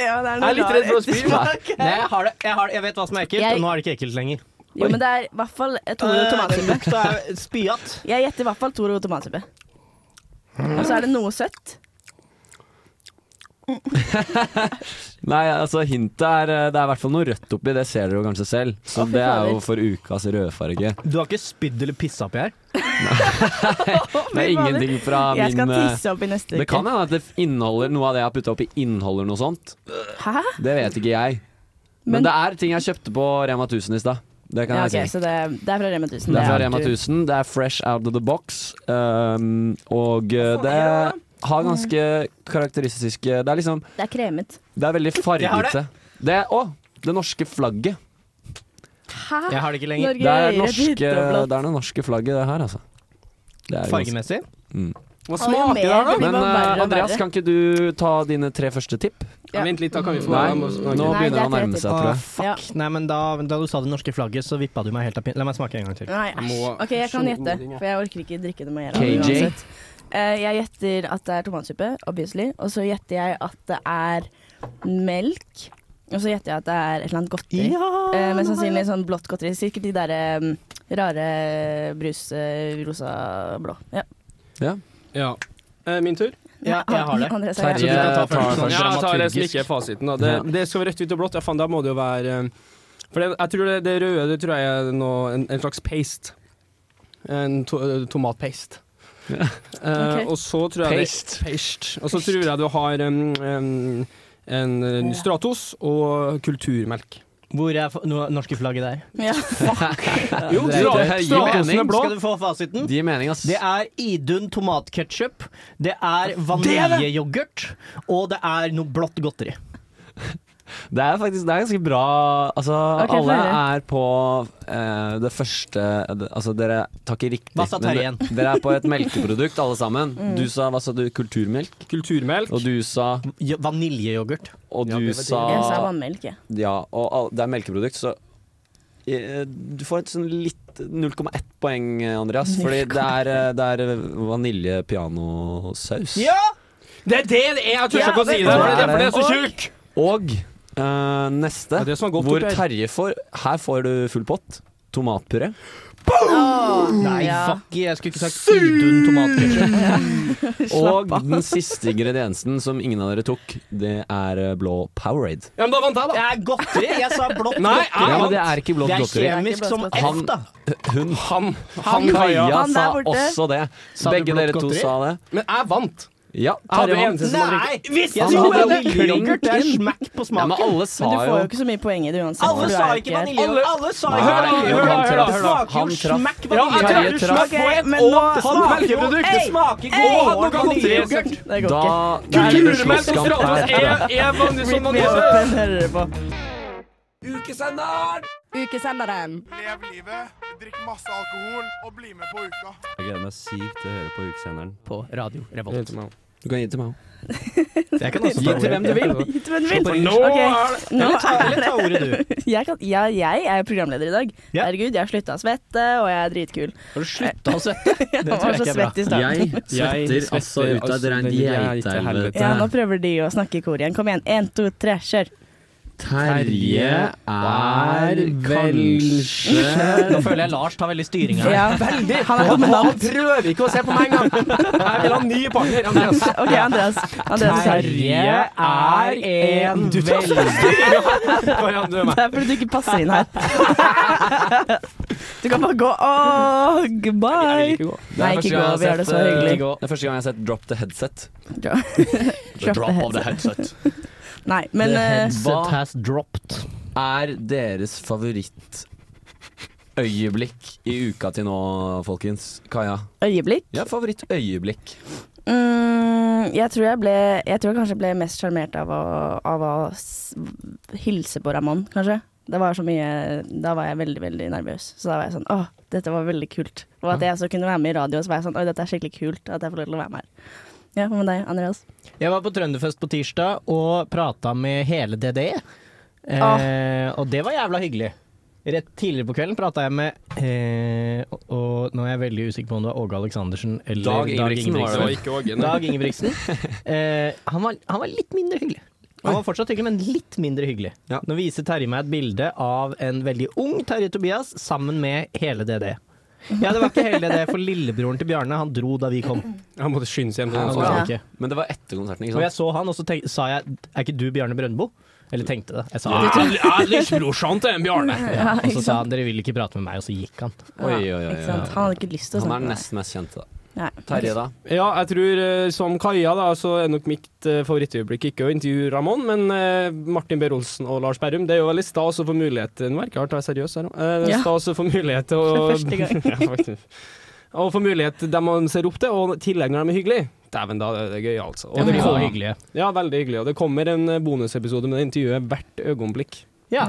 S6: Ja, det er
S5: Jeg
S6: noe
S5: er litt redd for å
S6: rar
S5: spy.
S6: ettersmak.
S5: Nei, jeg har det. Jeg, har det. jeg vet hva som er ekkelt,
S6: Jeg-
S5: og nå er det ikke ekkelt lenger.
S6: Jo, men det er i hvert fall eh, Toro
S5: Øh, den
S6: tomatsuppe.
S5: lukta er spyatt.
S6: Jeg gjetter i hvert fall Toro tomatsuppe.
S7: Mm.
S6: Og så er det noe søtt.
S7: Nei, altså hintet er eh, Det er i hvert fall noe rødt oppi, det ser dere jo kanskje selv. Så
S5: Å, fy
S7: det er
S5: fader.
S7: jo for ukas rødfarge.
S5: Du har ikke spydd eller pissa oppi her?
S7: Det er ingenting fra min
S6: Jeg skal
S7: eh,
S6: tisse opp i neste
S7: Det
S6: uke.
S7: kan hende at det inneholder noe av det jeg har putta oppi, inneholder noe sånt.
S6: Hæ?
S7: Det vet ikke jeg. Men,
S6: Men-
S7: det er ting jeg kjøpte på Rema 1000 i stad. Det kan
S6: Ja,
S7: jeg si.
S6: ok, så det, det er fra Rema 1000.
S7: Det er fra
S6: du-
S7: Rema 1000. Det er fresh out of the box. Um, og uh, det har ganske karakteristiske Det er liksom
S6: Det er kremet.
S7: Det er veldig
S6: Jeg har det.
S7: fargete. Det er Å! Det norske flagget.
S6: Hæ? Norge
S7: Det er,
S6: rødt,
S7: norske,
S6: hvitt og blått.
S7: det er det norske flagget, det her, altså. Det er jo
S5: Fargemessig?
S7: ganske- Mm.
S8: Hva
S6: Å, jo
S8: smaker det
S6: mer,
S8: her, da?
S6: det blir
S7: Men
S6: bare verre og
S7: uh, Andreas,
S6: verre.
S7: kan ikke du ta dine tre første tipp?
S8: Ja, vent litt, da kan vi få
S7: Nei,
S8: jeg må
S7: nå
S8: snakke.
S7: begynner han å nærme seg, tror
S5: Å,
S7: jeg.
S5: fuck. Nei, men da, da du sa det norske flagget, så vippa du meg helt av pinnen. La meg smake en gang til.
S6: Nei, æsj. OK, jeg kan gjette, for jeg orker ikke drikke det mer.
S5: KJ?
S6: uansett. Eh, jeg gjetter at det er tomatsuppe, obviously. Og så gjetter jeg at det er melk. Og så gjetter jeg at det er et eller annet godteri.
S5: Ja,
S6: Eh, men
S5: nå har
S6: sannsynlig
S5: jeg-
S6: sånn blått godteri. Sikkert de derre mm, rare brus, eh, rosa, blå. Ja.
S7: Ja.
S8: ja. Eh, Min tur?
S5: Ja, jeg har det.
S6: Andreas
S8: Så
S6: har
S8: du
S6: det.
S8: kan ta
S5: Terje tar
S8: først, sånn.
S5: først
S8: Ja, jeg tar det som
S5: dramaturgisk.
S8: ikke er fasiten. Da. Det,
S5: Ja.
S8: det skal være rødt, hvitt og blått. Ja, faen, da må det jo være eh, For det, jeg tror det, det røde det tror jeg er noe, en, en slags paste. En to, eh, tomatpaste. Eh,
S5: Ok.
S8: Og så tror jeg
S5: Paste.
S8: Det, paste. Og så tror jeg du har um, um, en eh, Stratos og kulturmelk.
S5: Hvor er fa- no, norske flagget der?
S6: Ja.
S5: Fuck!
S8: Jo,
S5: Det er-
S8: Stra-
S5: det gir
S8: Stratosen
S5: mening.
S8: er blå.
S5: Skal du få fasiten?
S7: Det gir mening, ass.
S5: Det er Idun tomatketchup, det er
S7: Det er det!
S5: vaniljeyoghurt, og det er noe blått godteri.
S7: Det er faktisk det er ganske bra Altså,
S5: Ok, få
S7: alle
S5: høre.
S7: er på eh, det første det- Altså, dere tar ikke riktig.
S5: Hva sa
S7: men
S5: Terje
S7: dere-
S5: igjen?
S7: Dere er på et melkeprodukt, alle sammen.
S5: Mm.
S7: Du sa hva sa du? Kulturmelk?
S8: Kulturmelk.
S7: Og du sa
S5: Vaniljeyoghurt.
S7: Og du sa
S6: Jeg sa vannmelk, jeg.
S7: Ja, og all, det er melkeprodukt, så eh, du får et sånn litt 0,1 poeng, eh, Andreas. Fordi det er, eh, det er vaniljepianosaus.
S5: Ja!
S8: Det er det det er! Jeg turte ikke å si det! for Det er fordi jeg er så tjukk!
S7: Og eh, neste, hvor Terje får Her får du full pott. Tomatpuré.
S5: Nei, fuck, jeg skulle ikke sagt Idun tomatpuré.
S7: Og den siste ingrediensen som ingen av dere tok, det er eh, blå Powerade.
S8: Ja, men da vant jeg, da!
S5: Det er godteri! Jeg sa blått
S8: Nei, jeg
S7: Ja, men
S8: vant.
S7: det er ikke blått
S5: Det er
S7: godteri.
S5: kjemisk som
S7: Han- eh,
S5: F, da.
S7: Hun. Han.
S8: Han,
S7: Kaja
S8: Kaja. Han
S7: sa
S8: der borte.
S7: også det.
S8: Sa du
S7: Begge
S8: blått
S7: dere to
S8: godteri?
S7: sa det.
S8: Men jeg vant.
S7: Ja,
S8: Jeg hadde
S7: Terje
S8: jo
S7: vant.
S8: eneste som hadde
S7: Nei,
S8: riktig.
S7: hvis
S8: Ja,
S7: du
S8: men han
S7: hadde
S8: hadde jo
S7: klink
S8: yoghurt
S7: til.
S8: inn.
S5: på
S7: Ja, men alle sa
S6: Men du får
S7: jo-
S6: jo ikke så mye poeng i det uansett.
S5: Alle
S6: for du
S5: sa
S6: er jo
S5: ikke vanilje.
S6: Alle-
S5: Alle sa
S7: Nei,
S5: Hør da,
S7: jo,
S5: hør da,
S7: han
S5: hør da. Det smaker jo
S7: traff. Han traff.
S5: smack på
S7: Ja,
S5: vanilje.
S7: Terje
S5: Ok,
S7: traff.
S5: men nå- Ey, ey, nå-
S7: Da
S5: Det går ikke.
S7: da er det
S5: Kulturmelk og
S7: slåsskamp her, tror jeg.
S5: strålende. Er- er vanlig som
S6: Britney
S5: vanlig.
S6: Open hører på.
S23: Ukesenderen!
S24: Ukesenderen.
S23: Lev livet, drikk masse alkohol og bli med på uka.
S7: Jeg gleder meg sykt til å høre på ukesenderen.
S5: På radio
S7: Revolt. Du kan gi det til meg òg.
S5: Jeg kan også
S7: gi
S5: ta
S7: til
S5: ordet.
S7: hvem du vil.
S6: Gi til hvem du vil.
S7: Slå på ring.
S6: Ok, nå
S7: Eller ta-
S6: er
S7: eller ta ordet, du.
S6: Jeg kan, ja, jeg er programleder i dag. Herregud, jeg har slutta å svette, og jeg er dritkul. Eh,
S5: Har du slutta å svette?
S6: jeg var så svett i starten.
S7: altså
S6: Ja, nå prøver de å snakke i kor igjen. Kom igjen. Én, to, tre, kjør.
S7: Terje er kanskje
S5: Nå føler jeg Lars tar veldig styring her.
S6: Ja.
S8: Veldig!
S6: Han er
S8: Og han
S6: dominant.
S8: prøver ikke å se på meg engang! Jeg vil ha ny partner, Andreas.
S6: OK, Andreas. Andreas er-
S8: Terje er en
S6: Du tar
S8: veldig
S6: styring. Det er fordi du ikke passer inn her. Du kan bare gå. Åh, goodbye.
S7: er
S6: Nei,
S7: første
S6: ikke
S7: gang jeg har
S6: gå. Vi har
S7: sett,
S6: det så
S7: eh,
S6: hyggelig.
S7: Det er første gang jeg har sett Drop the Headset.
S6: Drop the headset. Nei, men eh,
S5: dropped.
S7: er deres favorittøyeblikk i uka til nå, folkens? Kaja?
S6: Øyeblikk?
S7: Ja, favorittøyeblikk.
S6: Mm, jeg tror jeg ble Jeg tror jeg kanskje ble mest sjarmert av, å- av å s hilse på Ramón, kanskje. Det var så mye Da var jeg veldig, veldig nervøs. Så da var jeg sånn Å, dette var veldig kult. Og at jeg så kunne være med i radio, så var jeg sånn Oi, dette er skikkelig kult at jeg får lov til å være med her. Ja, hva med deg, Andreas?
S5: Jeg var på Trønderfest på tirsdag og prata med hele DDE. Eh, Og det var jævla hyggelig. Rett tidligere på kvelden prata jeg med eh, og, og nå er jeg veldig usikker på om det var Åge Aleksandersen eller
S7: Dag Ingebrigtsen var det vel? Det var ikke Åge, nei.
S5: Dag Ingebrigtsen. Eh, han, var, han var litt mindre hyggelig. Han var fortsatt hyggelig, men litt mindre hyggelig. Nå viser Terje meg et bilde av en veldig ung Terje Tobias sammen med hele DDE. Ja, det var ikke hele DDE, for lillebroren til Bjarne han dro da vi kom.
S8: Han måtte skynde seg hjem.
S5: Ja,
S8: til
S5: han
S8: den
S5: orket ikke.
S7: Men det var etter konserten,
S5: Og
S7: ikke
S5: jeg
S7: sant?
S5: så han, og så tenk, sa jeg Er ikke du Bjarne Brøndbo? Eller tenkte det. Jeg sa
S8: Ja, jeg er lillebrorsbroren til en Bjarne.
S5: Ja, og så sa han dere vil ikke prate med meg, og så gikk han.
S7: Oi, oi, oi,
S6: Ikke sant? Han hadde ikke lyst til å
S7: Han er
S6: snakke
S7: den
S6: med deg.
S7: nest mest kjente, da.
S6: Nei.
S7: Terje, da?
S8: Ja, jeg tror eh, som Kaja, da, så er nok mitt eh, favorittøyeblikk ikke å intervjue Ramón, men eh, Martin Behr-Olsen og Lars Berrum. Det er jo veldig stas å få mulighet eh, Nå merker jeg at jeg er seriøs her nå. Eh, det er
S17: Ja.
S8: Stas å få mulighet til å
S17: For første gang.
S8: ja, faktisk. Å få mulighet til dem man ser opp til, og i tillegg når de er hyggelige. Dæven, da er det gøy, altså.
S5: Ja, de er
S8: kommer-
S5: hyggelige.
S8: Ja, veldig hyggelige. Og det kommer en eh, bonusepisode med det intervjuet hvert øyeblikk.
S5: Ja.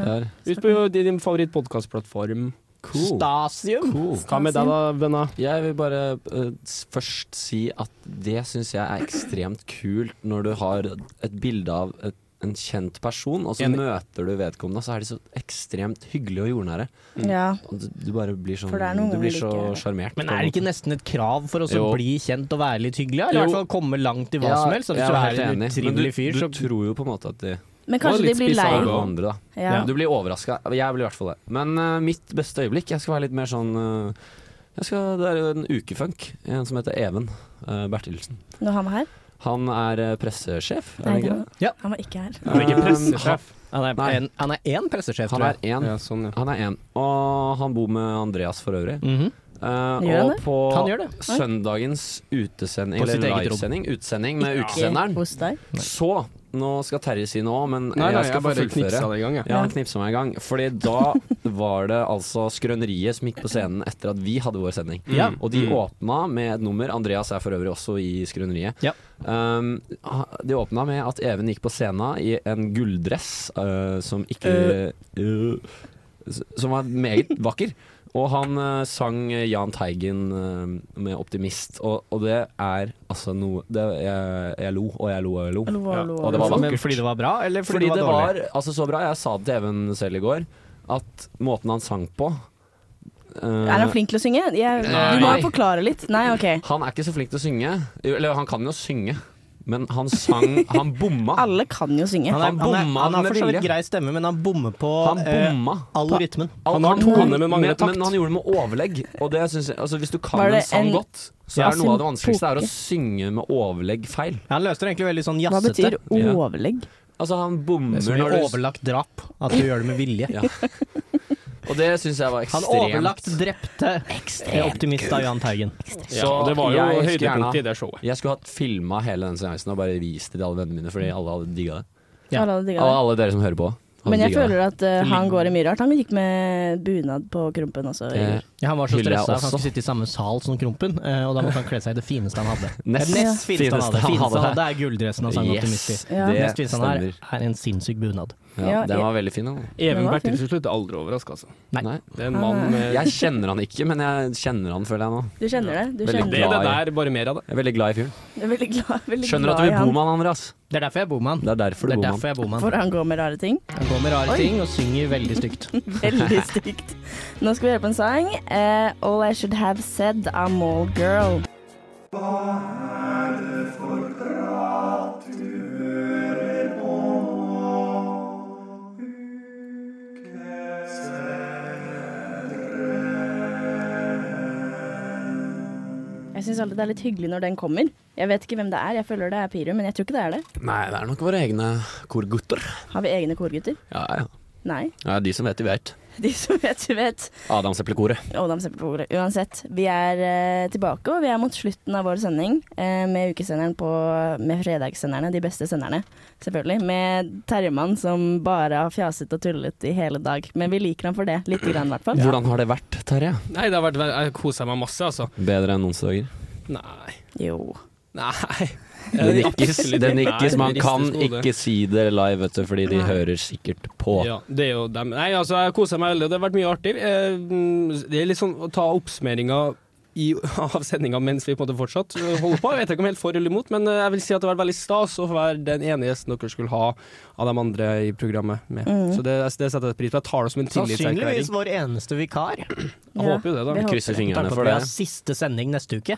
S8: Ut på jo din favorittpodkastplattform.
S5: Stasium.
S8: Hva med deg, da, venner?
S7: Jeg vil bare eh, s- først si at det syns jeg er ekstremt kult når du har et bilde av et, en kjent person, og så
S8: Enig.
S7: møter du vedkommende, så er de så ekstremt hyggelige og jordnære.
S6: Mm. Ja.
S7: Og du, du bare blir sånn
S6: For det er noen
S7: Du
S6: ganger
S7: blir
S6: vi
S7: så
S6: ikke
S7: sjarmert.
S5: Men
S7: på en
S5: er det ikke
S7: måte.
S5: nesten et krav for oss å
S7: Jo.
S5: bli kjent og være litt hyggelig? Eller i
S7: Jo.
S5: hvert fall komme langt i hva
S7: Ja,
S5: som helst? Så Hvis
S7: jeg
S5: du
S7: er
S5: er
S7: helt
S5: en
S7: enig, men
S5: utrivelig
S7: du-
S5: fyr, så
S7: Du tror jo på en måte at de
S6: Men kanskje
S7: Og
S6: de
S7: litt
S6: blir
S7: spissa
S6: lei.
S7: på Andre, da.
S6: Ja.
S7: Du blir overraska. Jeg blir i hvert fall det. Men eh, mitt beste øyeblikk Jeg skal være litt mer sånn eh, jeg skal, Det er jo en ukefunk. En som heter Even eh, Bertilsen.
S6: Når han var her?
S7: Han er eh, pressesjef, er
S6: Nei,
S7: han ikke det?
S6: han var ikke her.
S7: Han er ikke pressesjef.
S5: Han er,
S7: Nei.
S5: en, han er én pressesjef,
S7: Han
S5: tror
S7: er
S5: jeg. sånn,
S7: én. Han er én. Og han bor med Andreas for øvrig. Eh,
S5: Gjør han
S7: og
S5: det?
S7: på
S5: Mhm. Han gjør det. Oi.
S7: søndagens utesending,
S5: På sitt
S7: eller
S5: eget rom.
S7: livesending, utsending med
S6: Ikke
S7: ukesenderen,
S6: hos deg.
S7: så Nå skal Terje si noe, men
S8: Nei, nei,
S7: jeg skal
S8: jeg
S7: få
S8: bare
S7: fullføre.
S8: knipsa deg i gang, jeg.
S7: Ja, han
S8: Ja.
S7: knipsa meg i gang. Fordi da var det altså Skrøneriet som gikk på scenen etter at vi hadde vår sending.
S5: Ja.
S7: Og de
S5: Mm.
S7: åpna med et nummer. Andreas er for øvrig også i Skrøneriet. Um, ha- de åpna med at Even gikk på scenen i en gulldress uh, som
S5: Eh.
S7: ikke øh, s- Som var meget vakker. Og han eh, sang eh, Jahn Teigen eh, med 'Optimist', og, og det er altså noe det, jeg, jeg lo og jeg lo og jeg lo.
S5: Jeg lo og jeg lo og
S7: Og det
S5: jeg
S7: var
S5: lo.
S7: vakkert.
S5: Men fordi det var bra, eller fordi det var
S7: det
S5: dårlig?
S7: var altså, så bra. Jeg sa det til Even selv i går, at måten han sang på uh,
S6: Er han flink til å synge? Jeg, du må
S7: Eh, Nei.
S6: jo forklare litt. Nei, OK.
S7: Han er ikke så flink til å synge. Jo, Eller han kan jo synge. men han sang Han bomma.
S6: Alle kan jo synge.
S7: Han er- Han bomma han er- han har med for så vidt vilje. grei
S6: stemme, men han bommer på
S7: Han bomma.
S5: eh,
S6: all rytmen.
S7: Han
S8: har tone, men mangler
S7: men,
S8: takt.
S7: men han gjorde det med overlegg. Og det synes jeg, altså, hvis du kan
S5: Var det
S7: en sang
S5: en-
S7: godt, så
S5: Ja,
S7: er noe av det
S5: sin
S7: vanskeligste er å
S5: poke.
S7: synge med overlegg feil.
S5: Han løste det egentlig veldig sånn
S7: Hva
S5: jazzete.
S7: betyr overlegg? Altså, han bommer
S5: Det er så mye
S7: når du-
S5: overlagt drap at du gjør det med vilje.
S7: Ja. Og det syns jeg var
S5: Han
S7: ekstremt.
S5: overlagt drepte
S7: Eh,
S5: optimist av Jahn Teigen.
S7: Så jeg skulle gjerne- Jeg skulle hatt filma hele den seansen og bare vist det til alle vennene mine, fordi alle hadde digga det.
S6: Ja. Alle hadde digga
S7: Og
S6: det.
S7: alle dere som hører på. hadde
S6: Men jeg
S7: digga
S6: føler at eh,
S7: Til
S6: han
S7: lyden.
S6: går i mye rart. Han gikk med bunad på krumpen også. i
S7: Eh,
S6: går.
S5: Ja, han var så
S7: Ville jeg
S5: stressa at han
S7: også.
S5: skulle sitte i samme sal som Krompen, eh, og da måtte han kle seg i det fineste han hadde.
S7: Nest
S5: Det nest fineste han hadde.
S7: fineste han
S5: Fineste han
S7: hadde.
S5: hadde er gulldressen han sang
S7: Yes,
S5: optimist i.
S7: Ja. det
S5: Nest fineste han
S7: stemmer.
S5: er, er en sinnssyk bunad.
S7: Ja, Ja, den var veldig fin, den.
S8: Even
S5: Den var fin.
S8: Bertilsen slutter aldri å overraske, altså.
S7: Nei.
S8: Det er en
S6: Ah.
S8: mann med
S7: Jeg kjenner han ikke, men jeg kjenner han, føler jeg nå.
S6: Du kjenner det? Du
S7: Veldig
S6: kjenner
S7: glad i-
S6: det.
S8: bare mer av det.
S7: Jeg er veldig glad i fyren.
S6: Jeg er veldig glad, veldig
S7: Skjønner at
S6: glad
S7: du vil
S6: i han.
S7: bo med han, Andreas.
S5: Det er derfor jeg bor med han.
S7: Det er derfor du
S5: Det er
S7: bor med
S5: derfor jeg bor med
S6: For
S5: han.
S6: han går med rare ting.
S5: Han går med rare
S6: Oi.
S5: ting og synger veldig stygt.
S6: Veldig stygt. Nå skal vi høre på en sang. eh, All I Should Have Said av Mall Girl. Jeg syns alltid det er litt hyggelig når den kommer. Jeg vet ikke hvem det er, jeg føler det er Piru, men jeg tror ikke det er det.
S7: Nei, det er nok våre egne korgutter.
S6: Har vi egne korgutter?
S7: Ja, ja.
S6: Nei.
S7: ja de som vet, de vet.
S6: De som vet, du vet.
S7: Adamseplekoret.
S6: Og de ser på ordet. Uansett, vi er eh, tilbake, og vi er mot slutten av vår sending eh, med ukesenderen på Med fredagssenderne, de beste senderne, selvfølgelig. Med Terjemann som bare har fjaset og tullet i hele dag. Men vi liker ham for det, lite grann i hvert fall.
S7: Hvordan har det vært, Terje?
S8: Nei, det har vært, jeg koser meg masse, altså.
S7: Bedre enn onsdager?
S8: Nei.
S6: Jo.
S8: Nei.
S7: Det nikkes, det nikkes. Man kan
S8: Ristes hodet.
S7: ikke si det live, vet du, fordi de
S8: Nei.
S7: hører sikkert på.
S8: Ja, det er jo dem. Nei, altså, jeg koser meg veldig, og det har vært mye artig. Eh, mm, Det er litt sånn å ta oppsummeringa i, av sendinga mens vi på en måte fortsatt eh, holder på. Jeg vet ikke om jeg er helt for eller imot, men eh, jeg vil si at det har vært veldig stas å få være den ene gjesten dere skulle ha av de andre i programmet med.
S5: Mhm.
S8: Så det, altså, det setter jeg pris på. Jeg tar det som en
S5: Sannsynligvis
S8: tillitserklæring.
S5: vår eneste vikar.
S8: Jeg håper jo det, da. Vi krysser fingrene
S5: Takk
S8: for
S5: Vi
S8: det.
S5: har siste sending neste uke.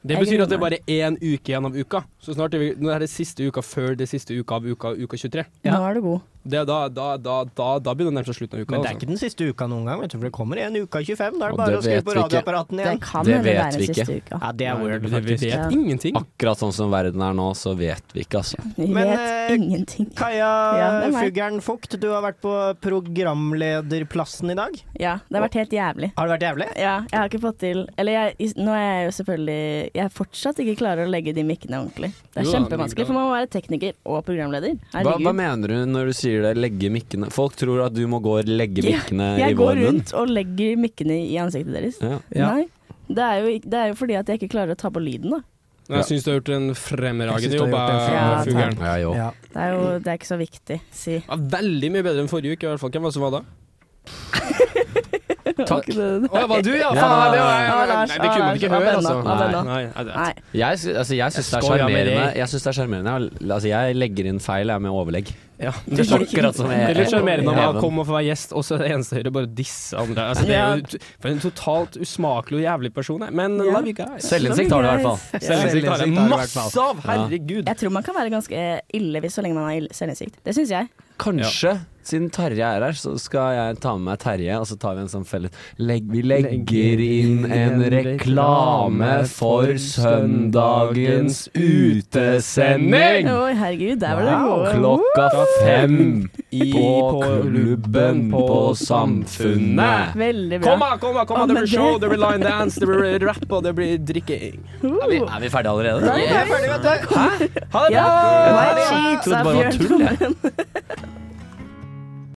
S8: Det betyr at det er bare én uke igjen av uka. Så snart er vi, nå er det siste uka før det siste uka av uka, uka 23.
S6: Nå er du god.
S8: Det, er da, da, da, da, da begynner det å nærme seg slutten av uka.
S5: Men det er
S8: altså.
S5: ikke den siste uka noen gang, vet du, for det kommer en uke av 25. Da er
S8: Og
S5: det bare
S8: det
S5: å skru
S8: vet
S5: på
S8: vi ikke.
S5: radioapparaten igjen.
S6: Den kan Det hende vet være vi ikke. siste uka.
S5: Ja, det er
S8: Nei,
S5: weird,
S8: det- det
S5: faktisk.
S8: vet Ja. ingenting.
S7: Akkurat sånn som verden er nå, så vet vi ikke, altså.
S6: Vi
S5: Men,
S6: vet
S5: eh,
S6: ingenting.
S5: Kaja
S6: Ja, det er meg.
S5: Fugger'n Fugt, du har vært på programlederplassen i dag.
S6: Ja, det har vært helt jævlig.
S5: Har det vært jævlig?
S6: Ja, jeg har ikke fått til Eller jeg, i- nå er jeg jo selvfølgelig Jeg er fortsatt ikke klarer å legge de mikkene ordentlig. Det er
S7: Jo da,
S6: kjempevanskelig, for man må være tekniker og programleder.
S7: Hva,
S6: Herregud.
S7: hva mener du når du sier det, legge mikkene Folk tror at du må gå og legge
S6: Ja,
S7: mikkene i
S6: Jeg går
S7: vår munn.
S6: rundt og legger mikkene i ansiktet deres.
S7: Ja.
S6: Nei, det er, jo, ikke- det er jo fordi at jeg ikke klarer å ta på lyden, da.
S8: Jeg syns du har gjort en fremragende jobb.
S6: Ja, takk.
S8: Fuglen.
S6: Det er jo det er ikke så viktig, si.
S8: Ja, veldig mye bedre enn forrige uke, i hvert fall. Hvem var det som var da?
S6: Takk.
S8: Å, ja, var du, ja?
S7: Nei, nei,
S8: Faen, det var
S7: nei, nei,
S8: Nei, det kunne man ikke høre, altså. Nei, nei, det-
S6: Nei.
S7: Jeg, sy- altså, jeg syns det er
S8: skoja med
S7: sjarmerende.
S8: deg.
S7: Jeg synes det er sjarmerende. Jeg- Altså, jeg legger inn feil jeg, med overlegg.
S8: Ja.
S7: Det er akkurat som
S8: Det er litt sjarmerende om
S7: Even.
S8: jeg kom og få være gjest, og så er det eneste høyre bare å disse andre. Altså, det er jo for en totalt usmakelig og jævlig person, jeg. men love you guys.
S7: Selvinnsikt har du i hvert fall.
S8: Selvinnsikt har jeg
S7: Selvinnsikt har du i hvert fall.
S8: masse av!
S7: Ja.
S8: Herregud.
S6: Jeg tror man kan være ganske ille hvis så lenge man har ill- selvinnsikt. Det syns jeg.
S7: Kanskje, siden Terje er her, så skal jeg ta med meg Terje, og så tar vi en sånn felles Legg, Vi legger inn en reklame for søndagens utesending!
S6: Oi, herregud, der var det
S7: Wow.
S6: gode.
S7: Klokka fem
S8: I-
S7: på
S8: på
S7: klubben på Samfunnet.
S6: Veldig
S8: Kom da, kom da! kom da.
S6: Å,
S8: Det
S6: men
S8: blir show, det blir line dance, det blir rap, og det blir drikking.
S6: Uh.
S7: Er vi, er vi ferdige allerede?
S6: Nei, vi er ferdige,
S7: Hæ? Ha det bra!
S6: Ja,
S7: Jeg trodde
S6: nei,
S7: det bare var
S6: cheats,
S7: tull, jeg.